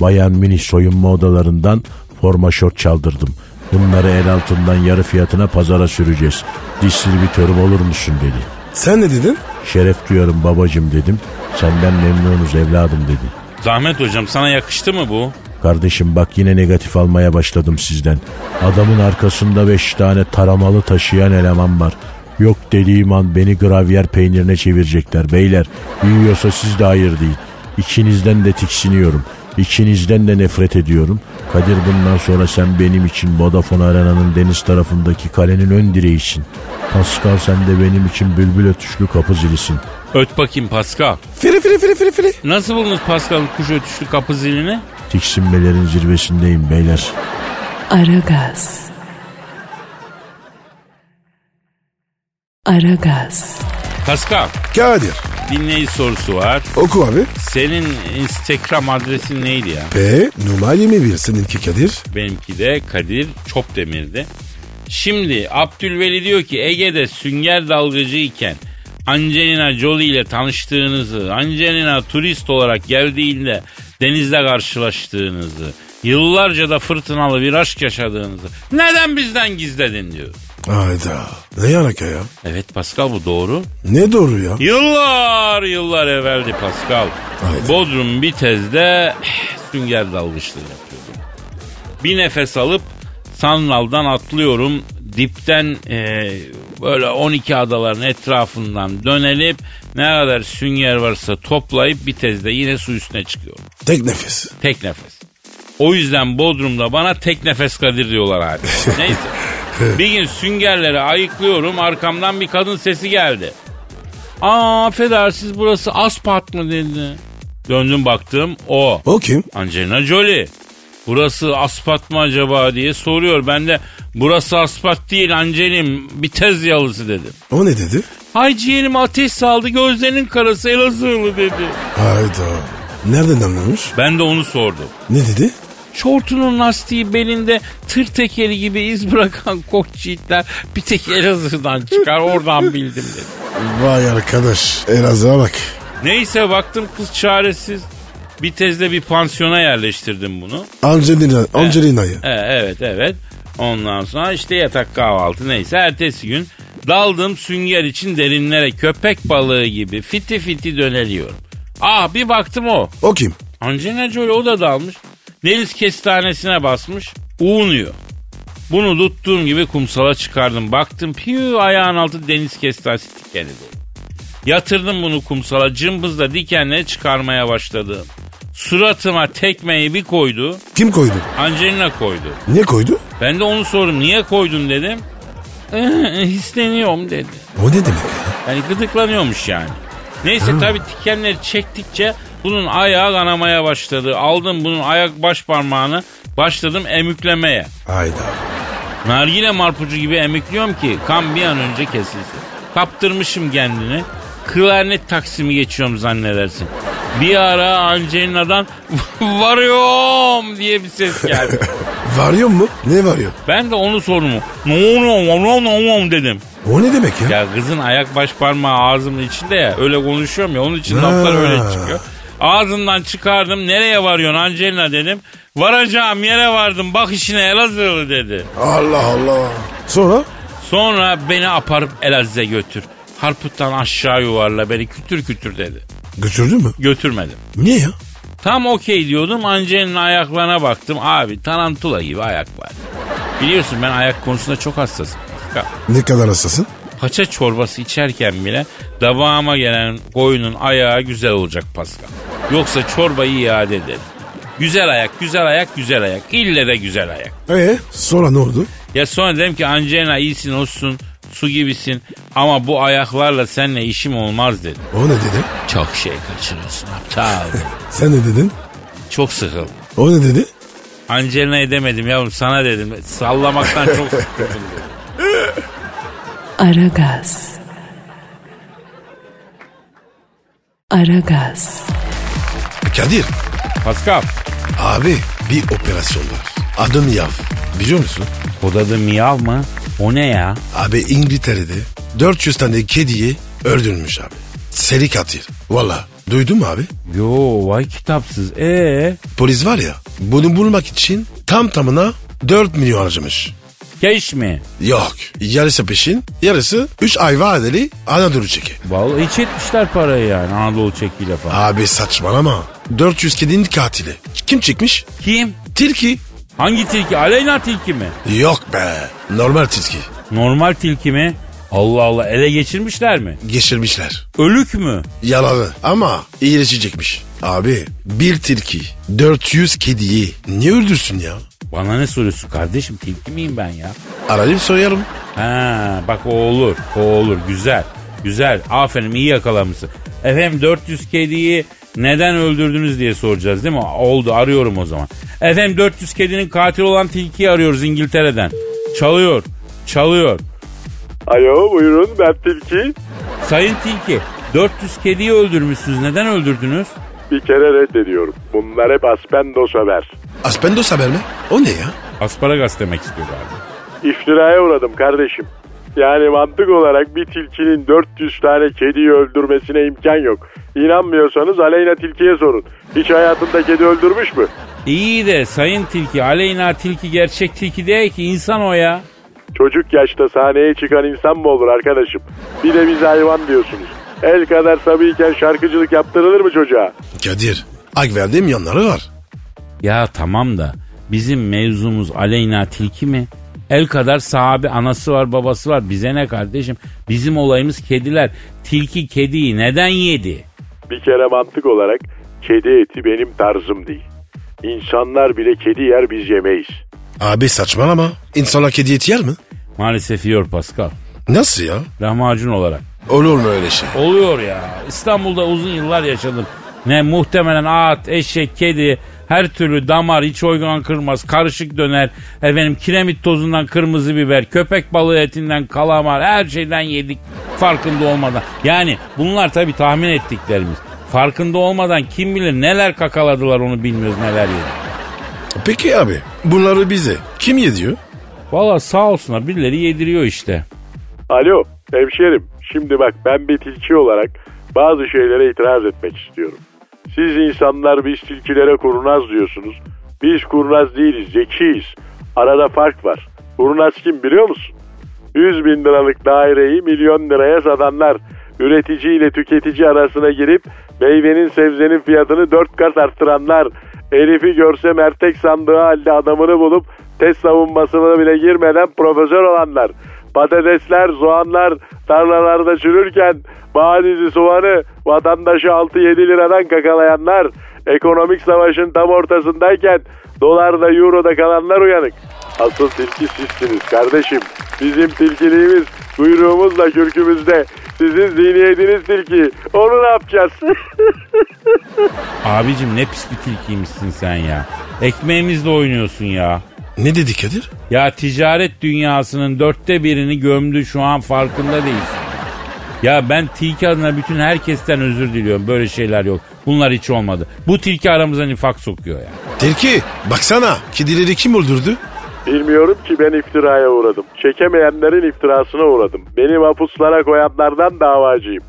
[SPEAKER 4] Bayern Münih soyunma odalarından forma şort çaldırdım. Bunları el altından yarı fiyatına pazara süreceğiz. Distribütörüm olur musun dedi.
[SPEAKER 3] Sen ne dedin?
[SPEAKER 4] Şeref duyarım babacım dedim. Senden memnunuz evladım dedi.
[SPEAKER 2] Zahmet hocam sana yakıştı mı bu?
[SPEAKER 4] Kardeşim bak yine negatif almaya başladım sizden. Adamın arkasında beş tane taramalı taşıyan eleman var. Yok dediğim an beni gravyer peynirine çevirecekler beyler. Yiyorsa siz de hayır deyin. İkinizden de tiksiniyorum. İkinizden de nefret ediyorum. Kadir bundan sonra sen benim için Vodafone Arena'nın deniz tarafındaki kalenin ön direğisin. Pascal sen de benim için bülbül ötüşlü kapı zilisin.
[SPEAKER 2] Öt bakayım Pascal.
[SPEAKER 3] Firi firi firi firi firi.
[SPEAKER 2] Nasıl buldunuz Pascal'ın kuş ötüşlü kapı zilini?
[SPEAKER 4] Tiksinmelerin zirvesindeyim beyler.
[SPEAKER 1] Aragaz. Aragaz.
[SPEAKER 2] Pascal
[SPEAKER 3] Kadir
[SPEAKER 2] dinleyici sorusu var.
[SPEAKER 3] oku abi.
[SPEAKER 2] Senin Instagram adresin neydi ya?
[SPEAKER 3] P numara 21 seninki Kadir.
[SPEAKER 2] Benimki de Kadir Çopdemir'di. Şimdi Abdülveli diyor ki Ege'de sünger dalgıcı iken Angelina Jolie ile tanıştığınızı, Angelina turist olarak geldiğinde denizde karşılaştığınızı, yıllarca da fırtınalı bir aşk yaşadığınızı neden bizden gizledin diyor.
[SPEAKER 3] Hayda. Ne alaka ya?
[SPEAKER 2] Evet Pascal bu doğru.
[SPEAKER 3] Ne doğru ya?
[SPEAKER 2] Yıllar yıllar evveldi Pascal.
[SPEAKER 3] Haydi.
[SPEAKER 2] Bodrum Bitez'de eh, sünger dalgıçlığı yapıyordum. Bir nefes alıp sandaldan atlıyorum. Dipten eh, böyle 12 adaların etrafından dönelip ne kadar sünger varsa toplayıp Bitez'de yine su üstüne çıkıyorum.
[SPEAKER 3] Tek nefes.
[SPEAKER 2] Tek nefes. O yüzden Bodrum'da bana tek nefes Kadir diyorlar abi. Neyse. Bir gün süngerleri ayıklıyorum arkamdan bir kadın sesi geldi. Aa affedersiniz burası Aspat mı dedi. Döndüm baktım o.
[SPEAKER 3] O kim?
[SPEAKER 2] Angelina Jolie. Burası Aspat mı acaba diye soruyor. Ben de burası Aspat değil Angelim bir tez yalısı dedim.
[SPEAKER 3] O ne dedi?
[SPEAKER 2] Ay ciğerime ateş saldı gözlerinin karası Elazığlı dedi.
[SPEAKER 3] Hayda. Nereden anlamış?
[SPEAKER 2] Ben de onu sordum.
[SPEAKER 3] Ne dedi?
[SPEAKER 2] Şortunun lastiği belinde tır tekeri gibi iz bırakan koç yiğitler bir tek Elazığ'dan çıkar oradan bildim dedi.
[SPEAKER 3] Vay arkadaş. Elazığ'a bak.
[SPEAKER 2] Neyse baktım kız çaresiz. Bir tezle bir pansiyona yerleştirdim bunu.
[SPEAKER 3] Angelina, Angelina'yı.
[SPEAKER 2] E, evet evet. Ondan sonra işte yatak kahvaltı neyse ertesi gün daldım sünger için derinlere köpek balığı gibi fiti fiti döneliyorum. Ah bir baktım o.
[SPEAKER 3] O kim?
[SPEAKER 2] Angelina Jolie o da dalmış. Deniz kestanesine basmış. Uğunuyor. Bunu tuttuğum gibi kumsala çıkardım. Baktım piyu ayağın altı deniz kestanesi dikeni dolu. Yatırdım bunu kumsala cımbızla dikenleri çıkarmaya başladım. Suratıma tekmeyi bir koydu.
[SPEAKER 3] Kim koydu?
[SPEAKER 2] Angelina koydu.
[SPEAKER 3] Ne koydu?
[SPEAKER 2] Ben de onu sordum niye koydun dedim. ıı, Hisleniyorum dedi.
[SPEAKER 3] O ne demek ya?
[SPEAKER 2] Yani gıdıklanıyormuş yani. Neyse tabii dikenleri çektikçe bunun ayağı kanamaya başladı. Aldım bunun ayak baş parmağını başladım emüklemeye.
[SPEAKER 3] Hayda.
[SPEAKER 2] Nargile marpucu gibi emükliyorum ki kan bir an önce kesilsin. Kaptırmışım kendini. Klarnet taksimi geçiyorum zannedersin. Bir ara Angelina'dan varıyorum diye bir ses geldi.
[SPEAKER 3] Varıyor mu? Ne varıyor?
[SPEAKER 2] Ben de onu sordum. Ne oluyor? Ne oluyor? Ne oluyor? dedim.
[SPEAKER 3] O ne demek ya?
[SPEAKER 2] Ya kızın ayak baş parmağı ağzımın içinde ya. Öyle konuşuyorum ya. Onun için
[SPEAKER 3] Ha.
[SPEAKER 2] laflar öyle çıkıyor. Ağzından çıkardım. Nereye varıyorsun Angelina dedim. Varacağım yere vardım. Bak işine Elazığlı dedi.
[SPEAKER 3] Allah Allah. Sonra?
[SPEAKER 2] Sonra beni aparıp Elazığ'a götür. Harputtan aşağı yuvarla beni kütür kütür dedi.
[SPEAKER 3] Götürdü mü?
[SPEAKER 2] Götürmedim.
[SPEAKER 3] Niye ya?
[SPEAKER 2] Tam okey diyordum Angel'in ayaklarına baktım. Abi tarantula gibi ayak var. Biliyorsun ben ayak konusunda çok hassasım. Pascal.
[SPEAKER 3] Ne kadar hassasın?
[SPEAKER 2] Paça çorbası içerken bile davama gelen koyunun ayağı güzel olacak Pascal. Yoksa çorbayı iade eder. Güzel ayak, güzel ayak, güzel ayak. İlle de güzel ayak.
[SPEAKER 3] Ee sonra ne oldu?
[SPEAKER 2] Ya sonra dedim ki Angelina iyisin olsun, su gibisin ama bu ayaklarla seninle işim olmaz dedim.
[SPEAKER 3] O ne dedi?
[SPEAKER 2] Çok şey kaçırıyorsun aptal.
[SPEAKER 3] Sen ne dedin?
[SPEAKER 2] çok sıkıldım.
[SPEAKER 3] O ne dedi?
[SPEAKER 2] Angelina edemedim yavrum sana dedim. Sallamaktan çok sıkıldım.
[SPEAKER 1] Aragaz. Aragaz.
[SPEAKER 3] Kadir.
[SPEAKER 2] Pascal.
[SPEAKER 3] Abi bir operasyon var. Adı Miyav. Biliyor musun?
[SPEAKER 2] O da da miyav mı? O ne ya?
[SPEAKER 3] Abi İngiltere'de 400 tane kediyi öldürmüş abi. Seri katil. Valla. Duydun mu abi?
[SPEAKER 2] Yo vay kitapsız. Ee.
[SPEAKER 3] Polis var ya bunu bulmak için tam tamına 4 milyon harcamış.
[SPEAKER 2] Keş mi?
[SPEAKER 3] Yok. Yarısı peşin, yarısı 3 ay vadeli Anadolu çeki.
[SPEAKER 2] Vallahi hiç etmişler parayı yani Anadolu çekiyle falan.
[SPEAKER 3] Abi saçmalama. 400 kedinin katili. Kim çekmiş?
[SPEAKER 2] Kim?
[SPEAKER 3] Tilki.
[SPEAKER 2] Hangi tilki? Aleyna tilki mi?
[SPEAKER 3] Yok be. Normal tilki.
[SPEAKER 2] Normal tilki mi? Allah Allah ele geçirmişler mi?
[SPEAKER 3] Geçirmişler.
[SPEAKER 2] Ölük mü?
[SPEAKER 3] Yalanı ama iyileşecekmiş. Abi bir tilki 400 kediyi niye öldürsün ya?
[SPEAKER 2] Bana ne soruyorsun kardeşim tilki miyim ben ya?
[SPEAKER 3] Arayıp sorarım.
[SPEAKER 2] Ha bak o olur. O olur. Güzel. Güzel. Aferin iyi yakalamışsın. Efendim 400 kediyi neden öldürdünüz diye soracağız değil mi? Oldu arıyorum o zaman. Efendim 400 kedinin katil olan tilkiyi arıyoruz İngiltere'den. Çalıyor. Çalıyor.
[SPEAKER 5] Alo buyurun ben Tilki.
[SPEAKER 2] Sayın tilki 400 kediyi öldürmüşsünüz. Neden öldürdünüz?
[SPEAKER 5] Bir kere reddediyorum. Bunlar hep aspendo söver.
[SPEAKER 3] Aspendos haber mi? O ne ya?
[SPEAKER 2] Asparagas demek istiyor abi.
[SPEAKER 5] İftiraya uğradım kardeşim. Yani mantık olarak bir tilkinin 400 tane kediyi öldürmesine imkan yok. İnanmıyorsanız Aleyna Tilki'ye sorun. Hiç hayatında kedi öldürmüş mü?
[SPEAKER 2] İyi de sayın tilki aleyna tilki gerçek tilki değil ki insan o ya.
[SPEAKER 5] Çocuk yaşta sahneye çıkan insan mı olur arkadaşım? Bir de biz hayvan diyorsunuz. El kadar sabiyken şarkıcılık yaptırılır mı çocuğa?
[SPEAKER 3] Kadir. Ak verdiğim yanları var.
[SPEAKER 2] Ya tamam da bizim mevzumuz Aleyna Tilki mi? El kadar sahabi anası var babası var bize ne kardeşim? Bizim olayımız kediler. Tilki kediyi neden yedi?
[SPEAKER 5] Bir kere mantık olarak kedi eti benim tarzım değil. İnsanlar bile kedi yer biz yemeyiz.
[SPEAKER 3] Abi saçmalama. İnsanlar kedi eti yer mi?
[SPEAKER 2] Maalesef yiyor Pascal.
[SPEAKER 3] Nasıl ya?
[SPEAKER 2] Lahmacun olarak.
[SPEAKER 3] Olur mu öyle şey?
[SPEAKER 2] Oluyor ya. İstanbul'da uzun yıllar yaşadım. Ne muhtemelen at, eşek, kedi her türlü damar, iç organ kırmaz, karışık döner. Efendim kiremit tozundan kırmızı biber, köpek balığı etinden kalamar her şeyden yedik farkında olmadan. Yani bunlar tabii tahmin ettiklerimiz. Farkında olmadan kim bilir neler kakaladılar onu bilmiyoruz neler yedik.
[SPEAKER 3] Peki abi bunları bize kim yediyor?
[SPEAKER 2] Valla sağ olsunlar birileri yediriyor işte.
[SPEAKER 5] Alo hemşerim şimdi bak ben bir tilki olarak bazı şeylere itiraz etmek istiyorum. Siz insanlar biz tilkilere kurnaz diyorsunuz. Biz kurnaz değiliz zekiyiz. Arada fark var. Kurnaz kim biliyor musun? 100 bin liralık daireyi milyon liraya satanlar üretici ile tüketici arasına girip meyvenin sebzenin fiyatını dört kat arttıranlar Herifi görse mertek sandığı halde adamını bulup test savunmasına bile girmeden profesör olanlar patatesler, soğanlar tarlalarda çürürken badizi soğanı vatandaşı 6-7 liradan kakalayanlar ekonomik savaşın tam ortasındayken dolarda euroda kalanlar uyanık. Asıl tilki sizsiniz kardeşim. Bizim tilkiliğimiz kuyruğumuzla kürkümüzde. Sizin zihniyetiniz tilki. Onu ne yapacağız?
[SPEAKER 2] Abicim ne pis bir tilkiymişsin sen ya. Ekmeğimizle oynuyorsun ya.
[SPEAKER 3] Ne dedi Kadir?
[SPEAKER 2] Ya ticaret dünyasının dörtte birini gömdü şu an farkında değilsin. Ya ben tilki adına bütün herkesten özür diliyorum. Böyle şeyler yok. Bunlar hiç olmadı. Bu tilki aramıza nifak sokuyor ya.
[SPEAKER 3] Tilki baksana kedileri kim öldürdü?
[SPEAKER 5] Bilmiyorum ki ben iftiraya uğradım. Çekemeyenlerin iftirasına uğradım. Beni mahpuslara koyanlardan davacıyım.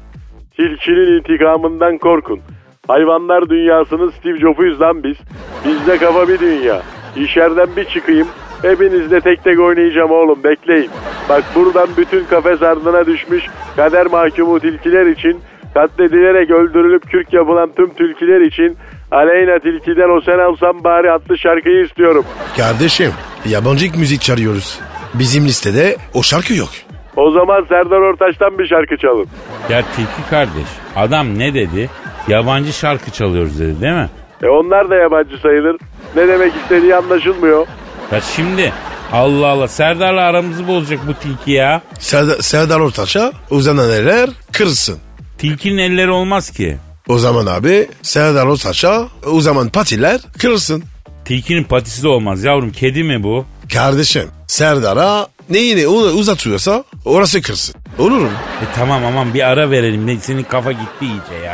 [SPEAKER 5] Tilkinin intikamından korkun. Hayvanlar dünyasının Steve Jobs'uyuz lan biz. Bizde kafa bir dünya. İşerden bir çıkayım. Hepinizle tek tek oynayacağım oğlum bekleyin. Bak buradan bütün kafes ardına düşmüş kader mahkumu tilkiler için katledilerek öldürülüp kürk yapılan tüm tilkiler için Aleyna Tilki'den o sen alsam bari adlı şarkıyı istiyorum.
[SPEAKER 3] Kardeşim yabancı müzik çağırıyoruz. Bizim listede o şarkı yok.
[SPEAKER 5] O zaman Serdar Ortaç'tan bir şarkı çalın.
[SPEAKER 2] Ya Tilki kardeş adam ne dedi? Yabancı şarkı çalıyoruz dedi değil mi?
[SPEAKER 5] E onlar da yabancı sayılır. Ne demek istediği anlaşılmıyor.
[SPEAKER 2] Ya şimdi Allah Allah Serdar'la aramızı bozacak bu tilki ya.
[SPEAKER 3] Serdar, Serdar Ortaç'a uzanan eller kırsın.
[SPEAKER 2] Tilkinin elleri olmaz ki.
[SPEAKER 3] O zaman abi Serdar Ortaç'a o zaman patiler kırsın.
[SPEAKER 2] Tilkinin patisi de olmaz yavrum kedi mi bu?
[SPEAKER 3] Kardeşim Serdar'a neyini onu uzatıyorsa orası kırsın. Olur mu?
[SPEAKER 2] E tamam aman bir ara verelim de senin kafa gitti iyice ya.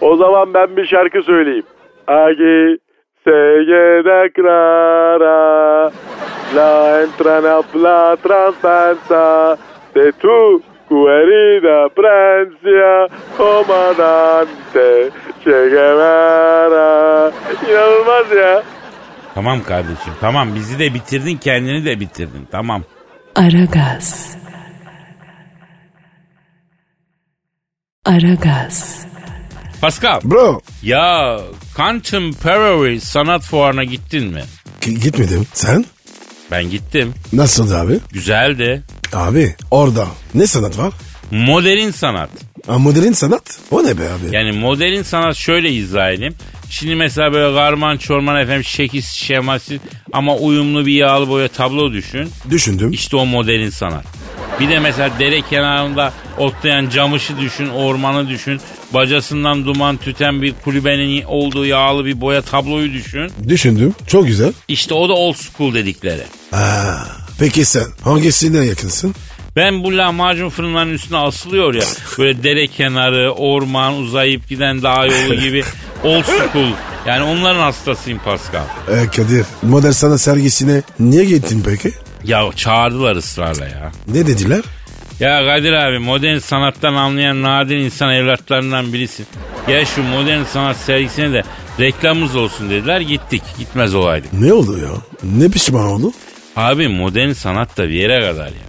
[SPEAKER 5] O zaman ben bir şarkı söyleyeyim. Agi seyede clara La entrana la transpensa De tu guerida prencia Comandante Che Guevara İnanılmaz ya.
[SPEAKER 2] Tamam kardeşim tamam bizi de bitirdin kendini de bitirdin tamam.
[SPEAKER 1] Aragaz. Aragaz.
[SPEAKER 2] Pascal
[SPEAKER 3] Bro
[SPEAKER 2] ya Contemporary sanat fuarına gittin mi?
[SPEAKER 3] g- gitmedim. Sen?
[SPEAKER 2] Ben gittim.
[SPEAKER 3] Nasıldı abi?
[SPEAKER 2] Güzeldi.
[SPEAKER 3] Abi orada ne sanat var?
[SPEAKER 2] Modern sanat.
[SPEAKER 3] Ha, modern sanat? O ne be abi?
[SPEAKER 2] Yani modern sanat şöyle izah edeyim. Şimdi mesela böyle garman çorman efendim şekil şeması ama uyumlu bir yağlı boya tablo düşün.
[SPEAKER 3] Düşündüm.
[SPEAKER 2] İşte o modern sanat. Bir de mesela dere kenarında otlayan camışı düşün, ormanı düşün. Bacasından duman tüten bir kulübenin olduğu yağlı bir boya tabloyu düşün.
[SPEAKER 3] Düşündüm. Çok güzel.
[SPEAKER 2] İşte o da old school dedikleri.
[SPEAKER 3] Aa, peki sen hangisine yakınsın?
[SPEAKER 2] Ben bu lahmacun fırınlarının üstüne asılıyor ya. Böyle dere kenarı, orman, uzayıp giden dağ yolu gibi old school. Yani onların hastasıyım Pascal.
[SPEAKER 3] Ee, Kadir modern sanat sergisine niye gittin peki?
[SPEAKER 2] Ya çağırdılar ısrarla ya.
[SPEAKER 3] Ne dediler?
[SPEAKER 2] Ya Kadir abi modern sanattan anlayan nadir insan evlatlarından birisin. Gel şu modern sanat sergisine de reklamımız olsun dediler gittik. Gitmez olaydık.
[SPEAKER 3] Ne oldu ya? Ne pişman oldu?
[SPEAKER 2] Abi modern sanat da bir yere kadar ya.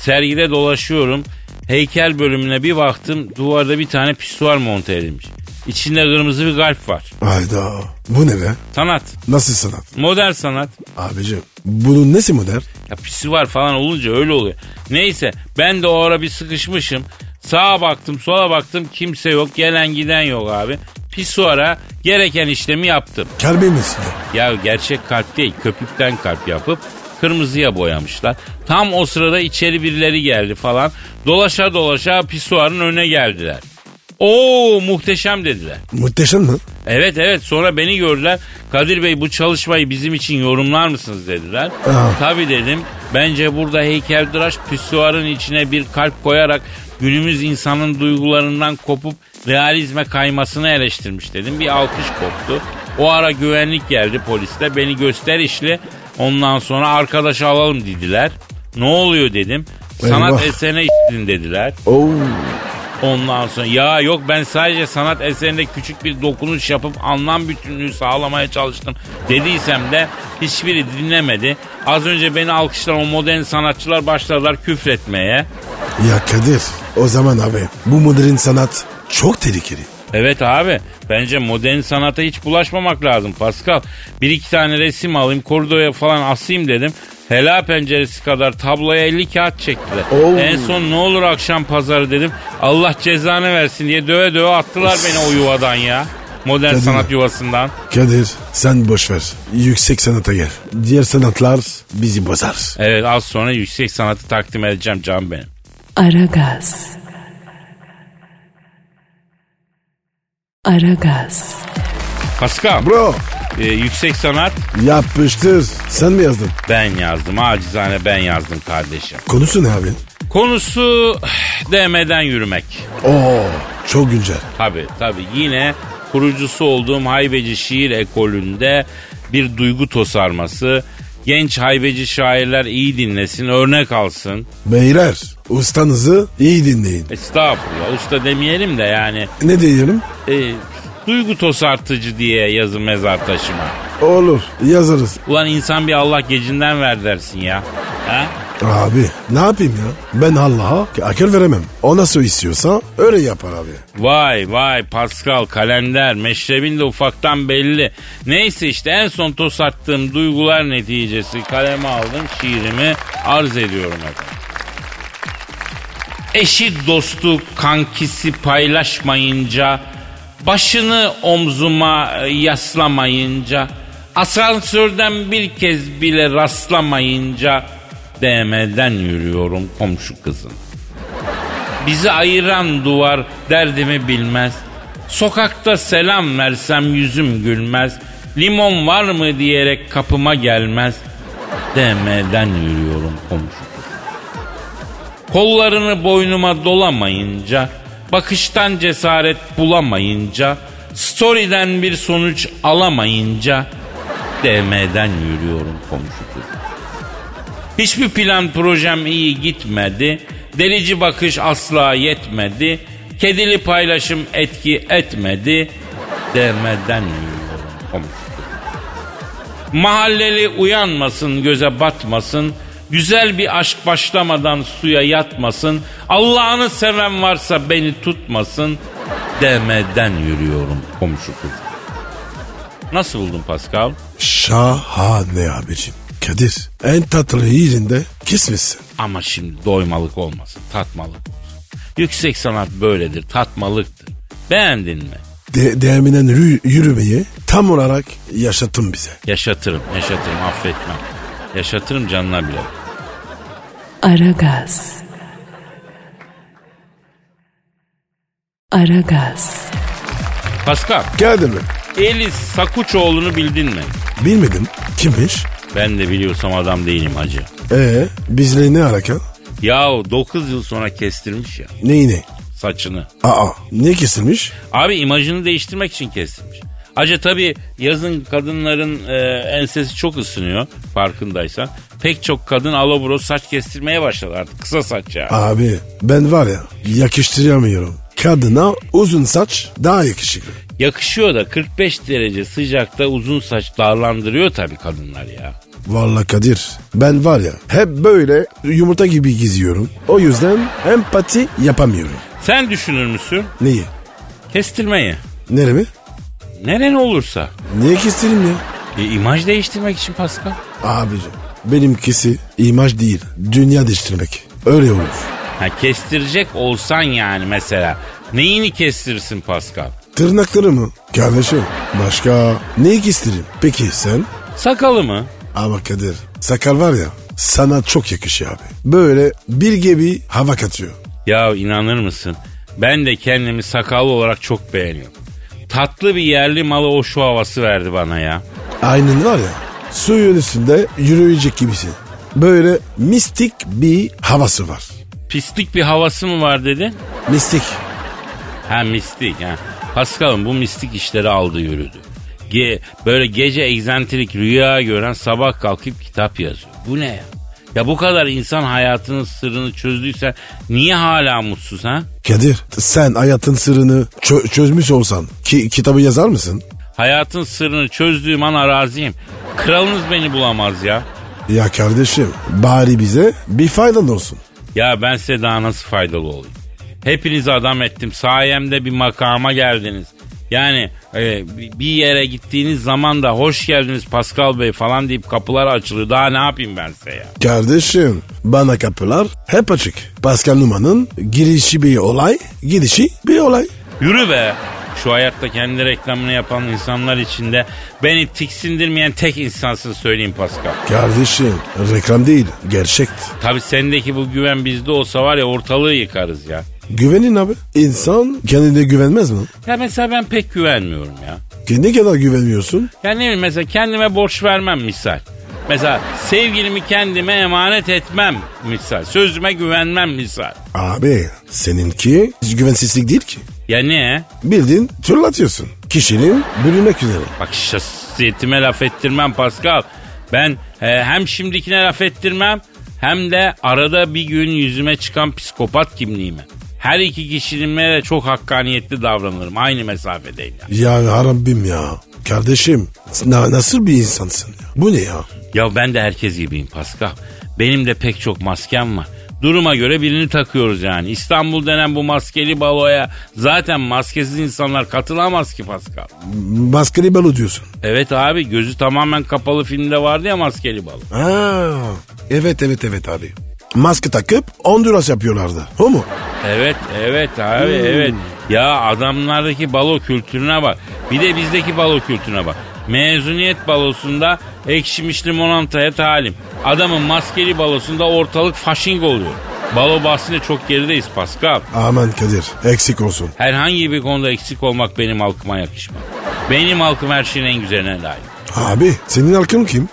[SPEAKER 2] Sergide dolaşıyorum. Heykel bölümüne bir baktım duvarda bir tane pisuar monte edilmiş. İçinde kırmızı bir kalp var.
[SPEAKER 3] Hayda. Bu ne be?
[SPEAKER 2] Sanat.
[SPEAKER 3] Nasıl sanat?
[SPEAKER 2] Modern sanat.
[SPEAKER 3] Abicim bunun nesi modern?
[SPEAKER 2] Ya pisi var falan olunca öyle oluyor. Neyse ben de o ara bir sıkışmışım. Sağa baktım sola baktım kimse yok gelen giden yok abi. Pisuara gereken işlemi yaptım.
[SPEAKER 3] Kalbi misin?
[SPEAKER 2] Ya gerçek kalp değil köpükten kalp yapıp kırmızıya boyamışlar. Tam o sırada içeri birileri geldi falan. Dolaşa dolaşa pisuarın önüne geldiler. Oo muhteşem dediler.
[SPEAKER 3] Muhteşem mi?
[SPEAKER 2] Evet evet sonra beni gördüler. Kadir Bey bu çalışmayı bizim için yorumlar mısınız dediler.
[SPEAKER 3] Aha.
[SPEAKER 2] Tabii dedim. Bence burada heykeltıraş pisuarın içine bir kalp koyarak günümüz insanın duygularından kopup realizme kaymasını eleştirmiş dedim. Bir alkış koptu. O ara güvenlik geldi polisle. Beni göster işli. Ondan sonra arkadaşı alalım dediler. Ne oluyor dedim. Sanat
[SPEAKER 3] Eyvah.
[SPEAKER 2] eserine işledin dediler.
[SPEAKER 3] Oo.
[SPEAKER 2] Ondan sonra ya yok ben sadece sanat eserinde küçük bir dokunuş yapıp anlam bütünlüğü sağlamaya çalıştım dediysem de hiçbiri dinlemedi. Az önce beni alkışlayan o modern sanatçılar başladılar küfretmeye.
[SPEAKER 3] Ya Kadir o zaman abi bu modern sanat çok tehlikeli.
[SPEAKER 2] Evet abi bence modern sanata hiç bulaşmamak lazım Pascal. Bir iki tane resim alayım koridora falan asayım dedim. Hela penceresi kadar tabloya 50 kağıt çektiler.
[SPEAKER 3] Oo.
[SPEAKER 2] En son ne olur akşam pazarı dedim. Allah cezanı versin diye döve döve attılar beni o yuvadan ya. Modern
[SPEAKER 3] Tabii.
[SPEAKER 2] sanat yuvasından.
[SPEAKER 3] Kadir sen boş ver. Yüksek sanata gel. Diğer sanatlar bizi bozar.
[SPEAKER 2] Evet az sonra yüksek sanatı takdim edeceğim can benim.
[SPEAKER 1] Aragaz. Aragaz.
[SPEAKER 2] Pascal
[SPEAKER 3] Bro
[SPEAKER 2] e, yüksek sanat
[SPEAKER 3] yapıştır. Sen mi yazdın?
[SPEAKER 2] ben yazdım. Acizane ben yazdım kardeşim.
[SPEAKER 3] Konusu ne abi?
[SPEAKER 2] Konusu DM'den yürümek.
[SPEAKER 3] Oo çok güncel.
[SPEAKER 2] Tabi tabi yine kurucusu olduğum haybeci şiir ekolünde bir duygu tosarması Genç haybeci şairler iyi dinlesin, örnek alsın.
[SPEAKER 3] Beyler ustanızı iyi dinleyin.
[SPEAKER 2] Estağfurullah usta demeyelim de yani
[SPEAKER 3] Ne diyelim?
[SPEAKER 2] e, duygu tosartıcı diye yazın mezar taşıma.
[SPEAKER 3] Olur yazarız.
[SPEAKER 2] Ulan insan bir Allah gecinden ver dersin ya. Ha?
[SPEAKER 3] Abi ne yapayım ya? Ben Allah'a akıl veremem. O nasıl istiyorsa öyle yapar abi.
[SPEAKER 2] Vay vay Pascal kalender meşrebin de ufaktan belli. Neyse işte en son tosarttığım duygular neticesi kaleme aldım şiirimi arz ediyorum efendim. Eşi dostu kankisi paylaşmayınca Başını omzuma e, yaslamayınca Asansörden bir kez bile rastlamayınca DM'den yürüyorum komşu kızın Bizi ayıran duvar derdimi bilmez. Sokakta selam versem yüzüm gülmez. Limon var mı diyerek kapıma gelmez. DM'den yürüyorum komşu. Kollarını boynuma dolamayınca, bakıştan cesaret bulamayınca, story'den bir sonuç alamayınca DM'den yürüyorum komşu. Hiçbir plan projem iyi gitmedi. Delici bakış asla yetmedi. Kedili paylaşım etki etmedi. Dermeden yürüyorum komşu. Mahalleli uyanmasın göze batmasın. Güzel bir aşk başlamadan suya yatmasın. Allah'ını seven varsa beni tutmasın. Demeden yürüyorum komşu kız. Nasıl buldun Pascal?
[SPEAKER 3] Şahane abicim. Kadir en tatlı yerinde kesmişsin.
[SPEAKER 2] Ama şimdi doymalık olmasın, tatmalık. olsun. Yüksek sanat böyledir, tatmalıktır. Beğendin mi?
[SPEAKER 3] De değerminen yürü- yürümeyi tam olarak yaşatın bize.
[SPEAKER 2] Yaşatırım, yaşatırım, affetmem. Yaşatırım canına bile.
[SPEAKER 1] Aragaz. Aragaz.
[SPEAKER 2] Pascal,
[SPEAKER 3] Kadir mi?
[SPEAKER 2] Elis Sakuçoğlu'nu bildin mi?
[SPEAKER 3] Bilmedim. Kimmiş?
[SPEAKER 2] Ben de biliyorsam adam değilim hacı.
[SPEAKER 3] Ee bizle ne alaka?
[SPEAKER 2] Yahu 9 yıl sonra kestirmiş ya
[SPEAKER 3] Neyi ne?
[SPEAKER 2] saçını.
[SPEAKER 3] Aa ne kesilmiş?
[SPEAKER 2] Abi imajını değiştirmek için kestirmiş. Acı tabii yazın kadınların e, ensesi çok ısınıyor farkındaysan. Pek çok kadın alobro saç kestirmeye başladı artık kısa saç ya.
[SPEAKER 3] Abi ben var ya yakıştıramıyorum. Kadına uzun saç daha yakışıklı.
[SPEAKER 2] Yakışıyor da 45 derece sıcakta uzun saç darlandırıyor tabii kadınlar ya.
[SPEAKER 3] Vallahi Kadir ben var ya hep böyle yumurta gibi geziyorum. O yüzden empati yapamıyorum.
[SPEAKER 2] Sen düşünür müsün?
[SPEAKER 3] Neyi?
[SPEAKER 2] Kestirmeyi.
[SPEAKER 3] Neremi?
[SPEAKER 2] Neren olursa.
[SPEAKER 3] Niye kestireyim ya?
[SPEAKER 2] E, imaj değiştirmek için Pascal.
[SPEAKER 3] Abicim benimkisi imaj değil dünya değiştirmek. Öyle olur.
[SPEAKER 2] Ha, kestirecek olsan yani mesela. Neyini kestirsin Pascal?
[SPEAKER 3] Tırnakları mı? Kardeşim başka neyi kestireyim? Peki sen?
[SPEAKER 2] Sakalı mı?
[SPEAKER 3] Ama Kadir sakal var ya sana çok yakışıyor abi. Böyle bir gibi hava katıyor.
[SPEAKER 2] Ya inanır mısın? Ben de kendimi sakallı olarak çok beğeniyorum. Tatlı bir yerli malı o şu havası verdi bana ya.
[SPEAKER 3] Aynen var ya suyun üstünde yürüyecek gibisin. Böyle mistik bir havası var.
[SPEAKER 2] Pislik bir havası mı var dedi?
[SPEAKER 3] Mistik.
[SPEAKER 2] Ha mistik ha. Pascal'ın bu mistik işleri aldı yürüdü. Ge- böyle gece egzantrik rüya gören sabah kalkıp kitap yazıyor. Bu ne ya? Ya bu kadar insan hayatının sırrını çözdüysen niye hala mutsuz ha?
[SPEAKER 3] Kadir sen hayatın sırrını çö- çözmüş olsan ki kitabı yazar mısın?
[SPEAKER 2] Hayatın sırrını çözdüğüm an araziyim. Kralınız beni bulamaz ya.
[SPEAKER 3] Ya kardeşim bari bize bir faydan olsun.
[SPEAKER 2] Ya ben size daha nasıl faydalı olayım? Hepinizi adam ettim. Sayemde bir makama geldiniz. Yani e, bir yere gittiğiniz zaman da hoş geldiniz Pascal Bey falan deyip kapılar açılıyor. Daha ne yapayım ben size ya?
[SPEAKER 3] Kardeşim bana kapılar hep açık. Pascal Numa'nın girişi bir olay, gidişi bir olay.
[SPEAKER 2] Yürü be! Şu hayatta kendi reklamını yapan insanlar içinde beni tiksindirmeyen tek insansın söyleyeyim Pascal.
[SPEAKER 3] Kardeşim reklam değil, gerçek.
[SPEAKER 2] Tabi sendeki bu güven bizde olsa var ya ortalığı yıkarız ya.
[SPEAKER 3] Güvenin abi. İnsan kendine güvenmez mi?
[SPEAKER 2] Ya mesela ben pek güvenmiyorum ya.
[SPEAKER 3] Kendi kadar güvenmiyorsun.
[SPEAKER 2] Ya ne bileyim mesela kendime borç vermem misal. Mesela sevgilimi kendime emanet etmem misal. Sözüme güvenmem misal.
[SPEAKER 3] Abi seninki güvensizlik değil ki.
[SPEAKER 2] Ya ne?
[SPEAKER 3] Bildiğin tırlatıyorsun. Kişinin bölünmek üzere.
[SPEAKER 2] Bak şahsiyetime laf ettirmem Pascal. Ben Ee, hem şimdikine laf ettirmem hem de arada bir gün yüzüme çıkan psikopat kimliğimi. Her iki kişiliğime de çok hakkaniyetli davranırım. Aynı mesafedeyim. yani.
[SPEAKER 3] Ya Rabbim ya. Kardeşim na- nasıl bir insansın ya? Bu ne ya?
[SPEAKER 2] Ya ben de herkes gibiyim Pascal. Benim de pek çok maskem var. Duruma göre birini takıyoruz yani. İstanbul denen bu maskeli baloya zaten maskesiz insanlar katılamaz ki Pascal.
[SPEAKER 3] Maskeli balo diyorsun.
[SPEAKER 2] Evet abi gözü tamamen kapalı filmde vardı ya maskeli balo.
[SPEAKER 3] Ha. Evet evet evet abi. Maske takıp Honduras yapıyorlardı. O mu?
[SPEAKER 2] Evet evet abi evet. Ya adamlardaki balo kültürüne bak. Bir de bizdeki balo kültürüne bak. Mezuniyet balosunda ekşimiş limonantaya talim. Adamın maskeli balosunda ortalık faşing oluyor. Balo bahsinde çok gerideyiz Pascal.
[SPEAKER 3] Aman Kadir eksik olsun.
[SPEAKER 2] Herhangi bir konuda eksik olmak benim halkıma yakışmaz. Benim halkım her şeyin en güzeline layık.
[SPEAKER 3] Abi senin halkın kim?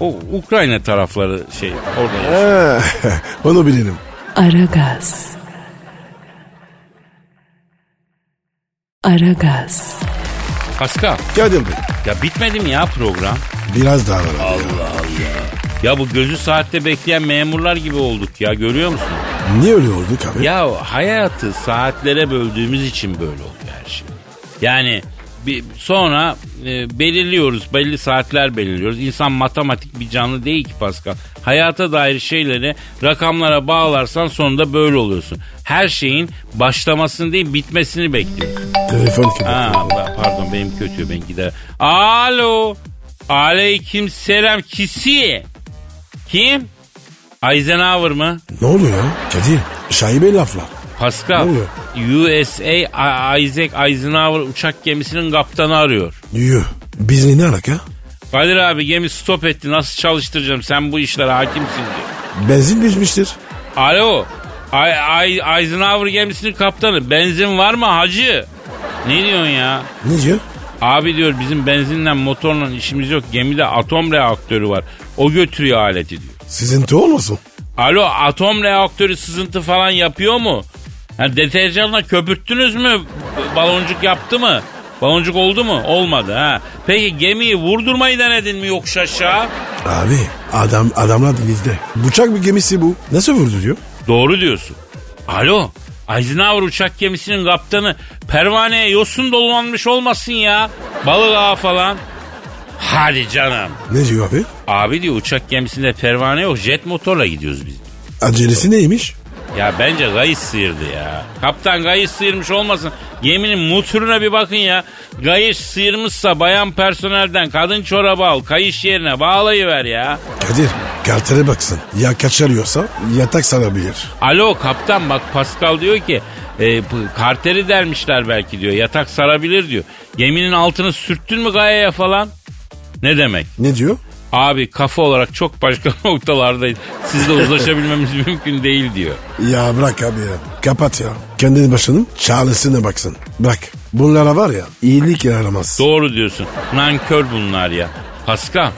[SPEAKER 2] O Ukrayna tarafları şey orada yaşıyor.
[SPEAKER 3] Ha, onu bilirim.
[SPEAKER 1] Aragaz. Aragaz.
[SPEAKER 2] Pascal
[SPEAKER 3] Kadir Bey
[SPEAKER 2] ya bitmedi mi ya program?
[SPEAKER 3] biraz daha var. abi.
[SPEAKER 2] Ya bu gözü saatte bekleyen memurlar gibi olduk ya görüyor musun?
[SPEAKER 3] Niye öyle olduk abi?
[SPEAKER 2] Ya hayatı saatlere böldüğümüz için böyle oluyor her şey. Yani bir, sonra e, belirliyoruz, belli saatler belirliyoruz. İnsan matematik bir canlı değil ki Pascal. Hayata dair şeyleri rakamlara bağlarsan sonunda böyle oluyorsun. Her şeyin başlamasını değil bitmesini bekliyorsun.
[SPEAKER 3] Telefon Kadir.
[SPEAKER 2] Ha, ba- pardon benim kötü ben gider. Alo. Aleyküm selam kisi. Kim? Eisenhower mı?
[SPEAKER 3] Ne oluyor ya? Kadir şaibe laflar.
[SPEAKER 2] Pascal,
[SPEAKER 3] Ne oluyor?
[SPEAKER 2] USA A- Isaac Eisenhower uçak gemisinin kaptanı arıyor.
[SPEAKER 3] Yuh. Biz ne alaka?
[SPEAKER 2] Kadir abi gemi stop etti nasıl çalıştıracağım sen bu işlere hakimsin diyor.
[SPEAKER 3] Benzin düşmüştür.
[SPEAKER 2] Alo Ay, Ay- Eisenhower gemisinin kaptanı benzin var mı hacı? Ne diyorsun ya?
[SPEAKER 3] Ne diyor?
[SPEAKER 2] Abi diyor bizim benzinle motorla işimiz yok gemide atom reaktörü var o götürüyor aleti diyor.
[SPEAKER 3] Sizinti olmasın?
[SPEAKER 2] Alo atom reaktörü sızıntı falan yapıyor mu? Ha, deterjanla köpürttünüz mü? B- Baloncuk yaptı mı? Baloncuk oldu mu? Olmadı ha. Peki gemiyi vurdurmayı denedin mi yokuş aşağı?
[SPEAKER 3] Abi adam adamlar denizde. Bıçak bir gemisi bu. Nasıl vurdu diyor?
[SPEAKER 2] Doğru diyorsun. Alo. Eisenhower uçak gemisinin kaptanı pervaneye yosun dolanmış olmasın ya. Balık ağı falan. Hadi canım.
[SPEAKER 3] Ne diyor abi?
[SPEAKER 2] Abi diyor uçak gemisinde pervane yok jet motorla gidiyoruz biz.
[SPEAKER 3] Acelesi neymiş?
[SPEAKER 2] Ya bence Gayis sıyırdı ya. Kaptan Gayis sıyırmış olmasın. Geminin motoruna bir bakın ya. Gayis sıyırmışsa bayan personelden kadın çorabı al. Kayış yerine bağlayıver ya.
[SPEAKER 3] Kadir kartere baksın. Ya kaçarıyorsa yatak sarabilir.
[SPEAKER 2] Alo kaptan bak Pascal diyor ki e, p- karteri dermişler belki diyor. Yatak sarabilir diyor. Geminin altını sürttün mü gayaya falan? Ne demek?
[SPEAKER 3] Ne diyor?
[SPEAKER 2] Abi kafa olarak çok başka noktalardayız. Sizle uzlaşabilmemiz mümkün değil diyor.
[SPEAKER 3] Ya bırak abi ya. Kapat ya. Kendini başının çaresine baksın. Bırak. Bunlara var ya iyilik yaramaz.
[SPEAKER 2] Doğru diyorsun. Nankör bunlar ya. Pascal.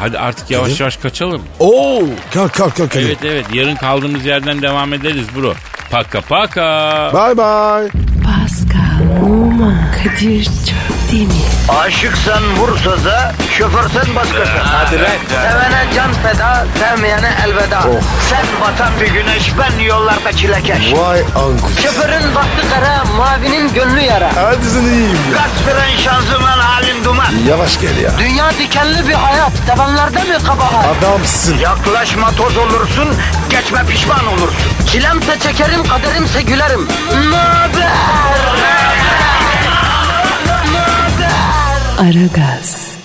[SPEAKER 2] Hadi artık yavaş yavaş kaçalım.
[SPEAKER 3] Oo, kalk kalk kalk.
[SPEAKER 2] Evet evet yarın kaldığımız yerden devam ederiz bro. Paka paka.
[SPEAKER 3] Bye bye.
[SPEAKER 1] Pascal, Oman, Kadir çok değil mi?
[SPEAKER 6] Aşıksan vursa da şoförsen başkasın. Hadi Sevene can feda, sevmeyene elveda. Sen batan bir güneş, ben yollarda çilekeş.
[SPEAKER 3] Vay anku.
[SPEAKER 6] Şoförün baktı kara, mavinin gönlü yara.
[SPEAKER 3] Hadi sen iyiyim ya.
[SPEAKER 6] Kasperen şanzıman halin duman.
[SPEAKER 3] Yavaş gel ya.
[SPEAKER 6] Dünya dikenli bir hayat, sevenlerde mi kabahar?
[SPEAKER 3] Adamsın.
[SPEAKER 6] Yaklaşma toz olursun, geçme pişman olursun. Çilemse çekerim, kaderimse gülerim. Möber!
[SPEAKER 1] Aragaz.